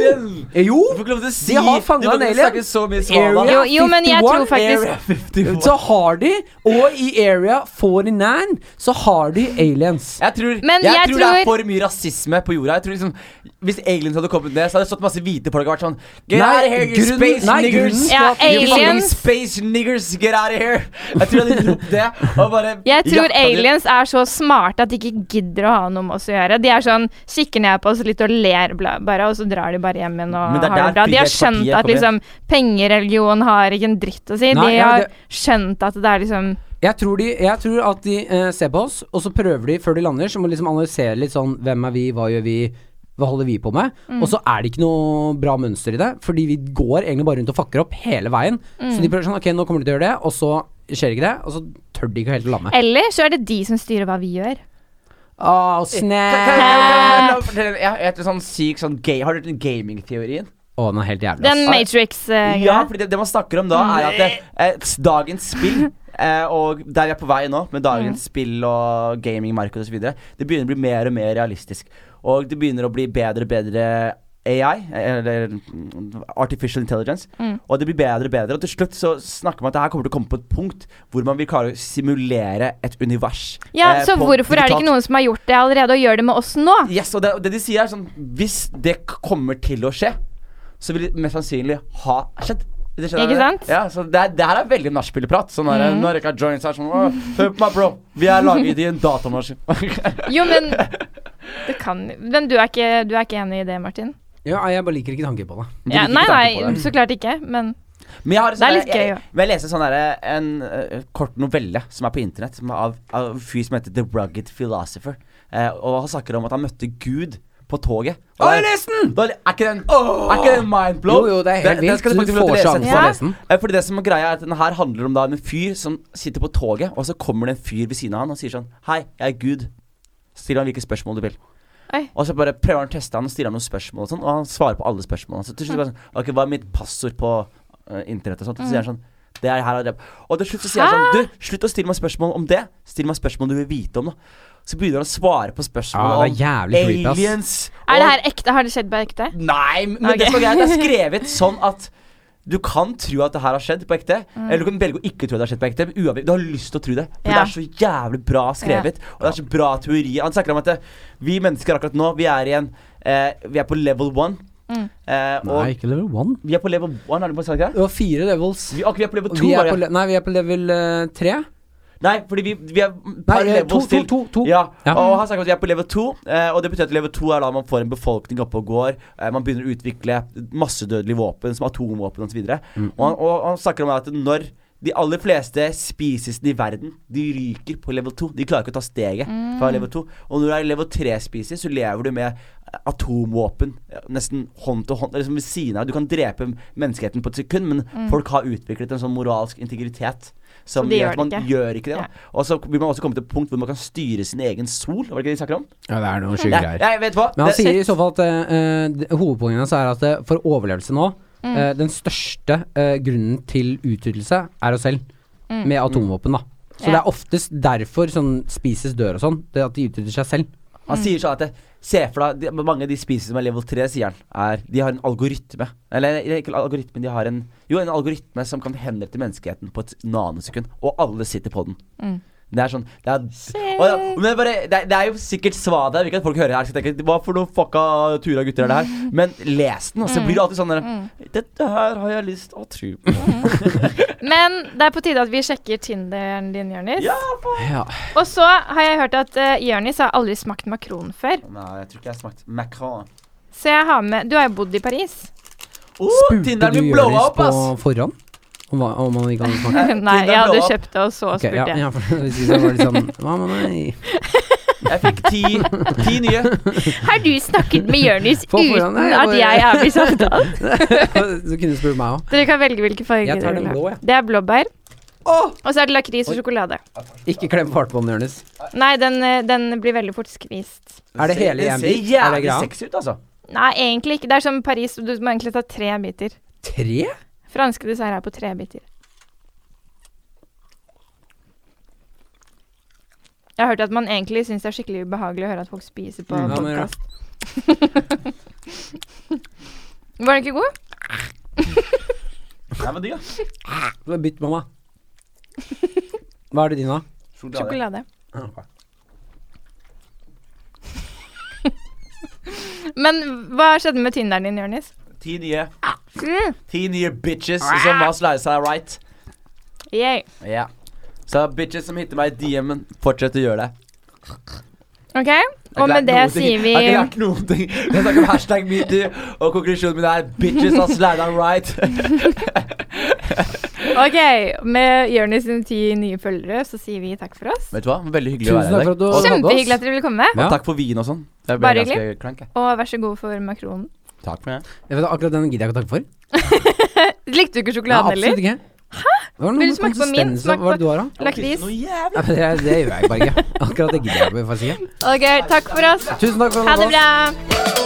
Jo! Du får ikke lov til å si De har fanget Du får en ikke alien. snakke så mye Area svada. Jo, jo, men jeg 51 tror faktisk Area 51. Så har de, og i Area 49, så har de aliens. Jeg tror, Men jeg jeg tror, det tror- er for mye rasisme på jorda. Jeg tror liksom Hvis aliens hadde kommet ned, så hadde det stått masse hvite folk og vært sånn Get Nei, out of here, you grunnen- space nei, niggers! grunnen Ja, You fucking aliens- Space niggers, get out of here! Jeg tror de hadde ropt det. Og bare Jeg tror jakta de- aliens er så smarte at de ikke gidder å ha noe med oss å gjøre. De er sånn, kikker ned på oss litt og ler bla- bare, og så drar de bare hjem igjen og Men det er har det der bra. De har skjønt Frihetspartiet at liksom, pengereligion har ikke en dritt å si. Nei, de ja, har det- skjønt at det er liksom Jeg tror, de, jeg tror at de eh, ser på oss, og så prøver de før de lander, så må de liksom analysere litt sånn Hvem er vi, hva gjør vi, hva holder vi på med? Og så er det ikke noe bra mønster i det, fordi vi går egentlig bare rundt og fucker opp hele veien. Så de prøver sånn Ok, nå kommer de til å gjøre det, og så skjer ikke det, og så tør de ikke helt å lande. Eller så er det de som styrer hva vi gjør. Å, Kan- kan- snap! kan- kan- kan- fortell- Jeg jeg heter sånn syk sånn gay Har du hørt den gamingteorien? Å, den er helt jævlig, Den ass. Matrix-greia. Ja, fordi det, det man snakker om da, er at det, Mm. eh, [laughs] dagens spill eh, og der vi er på vei nå, Mm. med dagens spill og gamingmarked osv., det begynner å bli mer og mer realistisk. Og det begynner å bli bedre og bedre AI, eller mm, artificial intelligence. Mm. Og det blir bedre og bedre. Og til slutt så snakker man at det her kommer til å komme på et punkt hvor man vil klare å simulere et univers. ja, eh, så på hvorfor er det digitalt ikke noen som har gjort det allerede, og gjør det med oss nå? Yes, og det, og det de sier er sånn Hvis det k- kommer til å skje, så vil det mest sannsynlig ha skjedd. Det skjedde, Ikke sant? Mhm. Ja, så det, er- det her er veldig nachspieleprat. Sånn er det når Rekka joins her sånn «Åh, Hør på meg, bro. Vi er laget i en datamaskin. [laughs] Jo, men det kan Men du er ikke, du er ikke enig i det, Martin? Ja, nei, jeg bare liker ikke tanken på det. Ja, nei, nei, så klart ikke, men Men jeg har Det en er sånn litt der- gøy, jeg- jo. Men jeg leser sånn derre en eh, kort novelle som er på internett, som er av, av en fyr som heter The Rugged Philosopher. Eh, og han snakker om at han møtte Gud på toget. Og Å, jeg det- leste den! Da, er ikke den, er ikke den mindblow? Jo, jo, det er helt Den- den skal du faktisk vilt. Du få lov til å får lese sjansen til å etterpå. lese den. Ja. Eh, Fordi det som er greia er at den her handler om da en fyr som sitter på toget, og så kommer det en fyr ved siden av han og sier sånn Hei, jeg er Gud. Så stiller han hvilke spørsmål du vil. Oi. Og så bare prøver han å teste han og stiller han noen spørsmål og sånn, og han svarer på alle spørsmålene. Så til slutt bare sånn Ok, hva er mitt passord på eh, internett og sånt? Og Mm. så sier han sånn det er her og det. Og til slutt så sier han sånn Du, slutt å stille meg spørsmål om det. Still meg spørsmål du vil vite om, da. Så begynner han å svare på spørsmål Ja, Ah, det er om jævlig creepy, ass. aliens. Er og- det her ekte? Har det skjedd på ekte? Nei, men Ok. det som er greit, det [laughs] er skrevet sånn at du kan tro at det her har skjedd på ekte, eller du kan velge å ikke tro at det har skjedd på ekte. Men uavhengig, du har lyst til å tro det, for Mm. Ja. det er så jævlig bra skrevet. Og det er så bra teori. Han snakker om at det, vi mennesker akkurat nå, vi er i en eh, Vi er på level one. Mm. Eh, og Nei, ikke level 1. vi er på level one, er det på sagt det? Det var fire levels. Vi, ok, vi er på level Og to, Vi er bare. på, le- nei, vi er på level eh, tre. Nei, fordi vi, vi er Nei, par eh, to, levels to, til. to, to. Ja, Ja. og han snakker om at vi er på level 2, eh, og det betyr at level 2 er da man får en befolkning oppe og går, eh, man begynner å utvikle massedødelige våpen, som atomvåpen osv. videre Og, han, og han snakker om at når de aller fleste spisisene i verden De ryker på level 2. De klarer ikke å ta steget fra Mm. level 2. Og når du er level 3-spiser, så lever du med eh, atomvåpen eh, nesten hånd til hånd, liksom ved siden av. Du kan drepe menneskeheten på et sekund, men Mm. folk har utviklet en sånn moralsk integritet. Som Så de gjør gjør at man det ikke. gjør ikke det. Nei. Da. Og så vil man også komme til et punkt hvor man kan styre sin egen sol. Var det ikke det de snakker om? Ja, det er noen sjuke Nei, jeg vet hva. Men han Det- sier i så fall at eh, eh, d- hovedpoenget hans er at eh, for overlevelse nå Mm. eh, Den største eh, grunnen til utryddelse er oss selv, med atomvåpen, da. Så Mm. Ja. det er oftest derfor sånn spises dør og sånn. Det at de utrydder seg selv. Han sier sånn at det, Se for deg de, Mange av de spisene som er level 3, sier han, er De har en algoritme. Eller ikke algoritme, de har en Jo, en algoritme som kan henrette menneskeheten på et nanosekund. Og alle sitter på den. Mm. Det er sånn Det er, og, ja, men det, er bare, det, er, det er jo sikkert svadet her. Ikke at folk hører her og tenker Hva for noen fucka tura gutter er det her? Men les den, Mm. og så blir det alltid sånn der, Dette her har jeg lyst å tro på. Mm. Men det er på tide at vi sjekker Tinderen din, Jonis. [laughs] Ja, faen. Ja. Og så har jeg hørt at uh, Jonis har aldri smakt makron før. Nei, jeg tror ikke jeg har smakt macron. Så jeg har med Du har jo bodd i Paris. [laughs] Oh, Spurte Tinderen du min blow Jonis up, på ass! forhånd? Om, hva- om han ikke hadde [laughs] smakt? Nei, jeg Tinderen blow hadde up. kjøpt det, og så Ok, ja, spurte jeg. ja, for hvis ikke så var det sånn Hva med meg? [laughs] Jeg fikk ti, ti [laughs] nye. Har du snakket med [laughs] Jonis På forhånd, uten nei, jeg at bare- jeg er blitt [laughs] samtalt? Så kunne du spurt meg òg. Dere kan velge hvilke farger Jeg tar dere vil den ha. blå, jeg. Det er blåbær. Åh! Og så er det lakris og sjokolade. Ikke klem fartbåndet, Jonis. Nei, den, eh, den blir veldig fort skvist. Er det hele i en bit? Det ser Er jævlig det greia? sexy ut, altså. Nei, egentlig ikke. Det er som Paris, du må egentlig ta tre biter. Tre? Franske desserter er på tre biter. Jeg har hørt at man egentlig syns det er skikkelig ubehagelig å høre at folk spiser på Mm, ja, men ja. podkast. [laughs] Var den ikke god? Det var digg, da. Bytt, mamma. Hva er det din, da? Sjokolade. Sjokolade. [laughs] Men hva skjedde med Tinderen din, Jonis? Ti nye. Ti nye bitches som har slice seg right. Yay. Ja. Så bitches som hitter meg i DM-en, fortsett å gjøre det. OK, og med det sier vi Jeg har ikke lært noen ting. Jeg snakker om hashtag metoo, og konklusjonen min er bitches har slida right. OK, med Jonis sine ti nye følgere, så sier vi takk for oss. [laughs] Vet du hva? Veldig hyggelig å Tusen takk være her. for at du Og- hadde oss. Kjempehyggelig at dere ville komme. Og Ja. takk for vin og sånn. Jeg ble Bare ganske hyggelig. Krank, jeg. Og vær så god for makronen. Takk for det. Jeg vet, akkurat den gidder jeg ikke å takke for. Likte du ikke Nei, sjokoladen absolutt heller? ikke. Det var noe Vil du med smake på min? konsistens og- Smak på- Hva er det du har, da? Lakris. Noe jævlig. Nei, men det, det gjør jeg bare ikke. Akkurat det gidder jeg faktisk ikke. OK, takk for oss. Tusen takk for at du Ha hadde det oss. bra.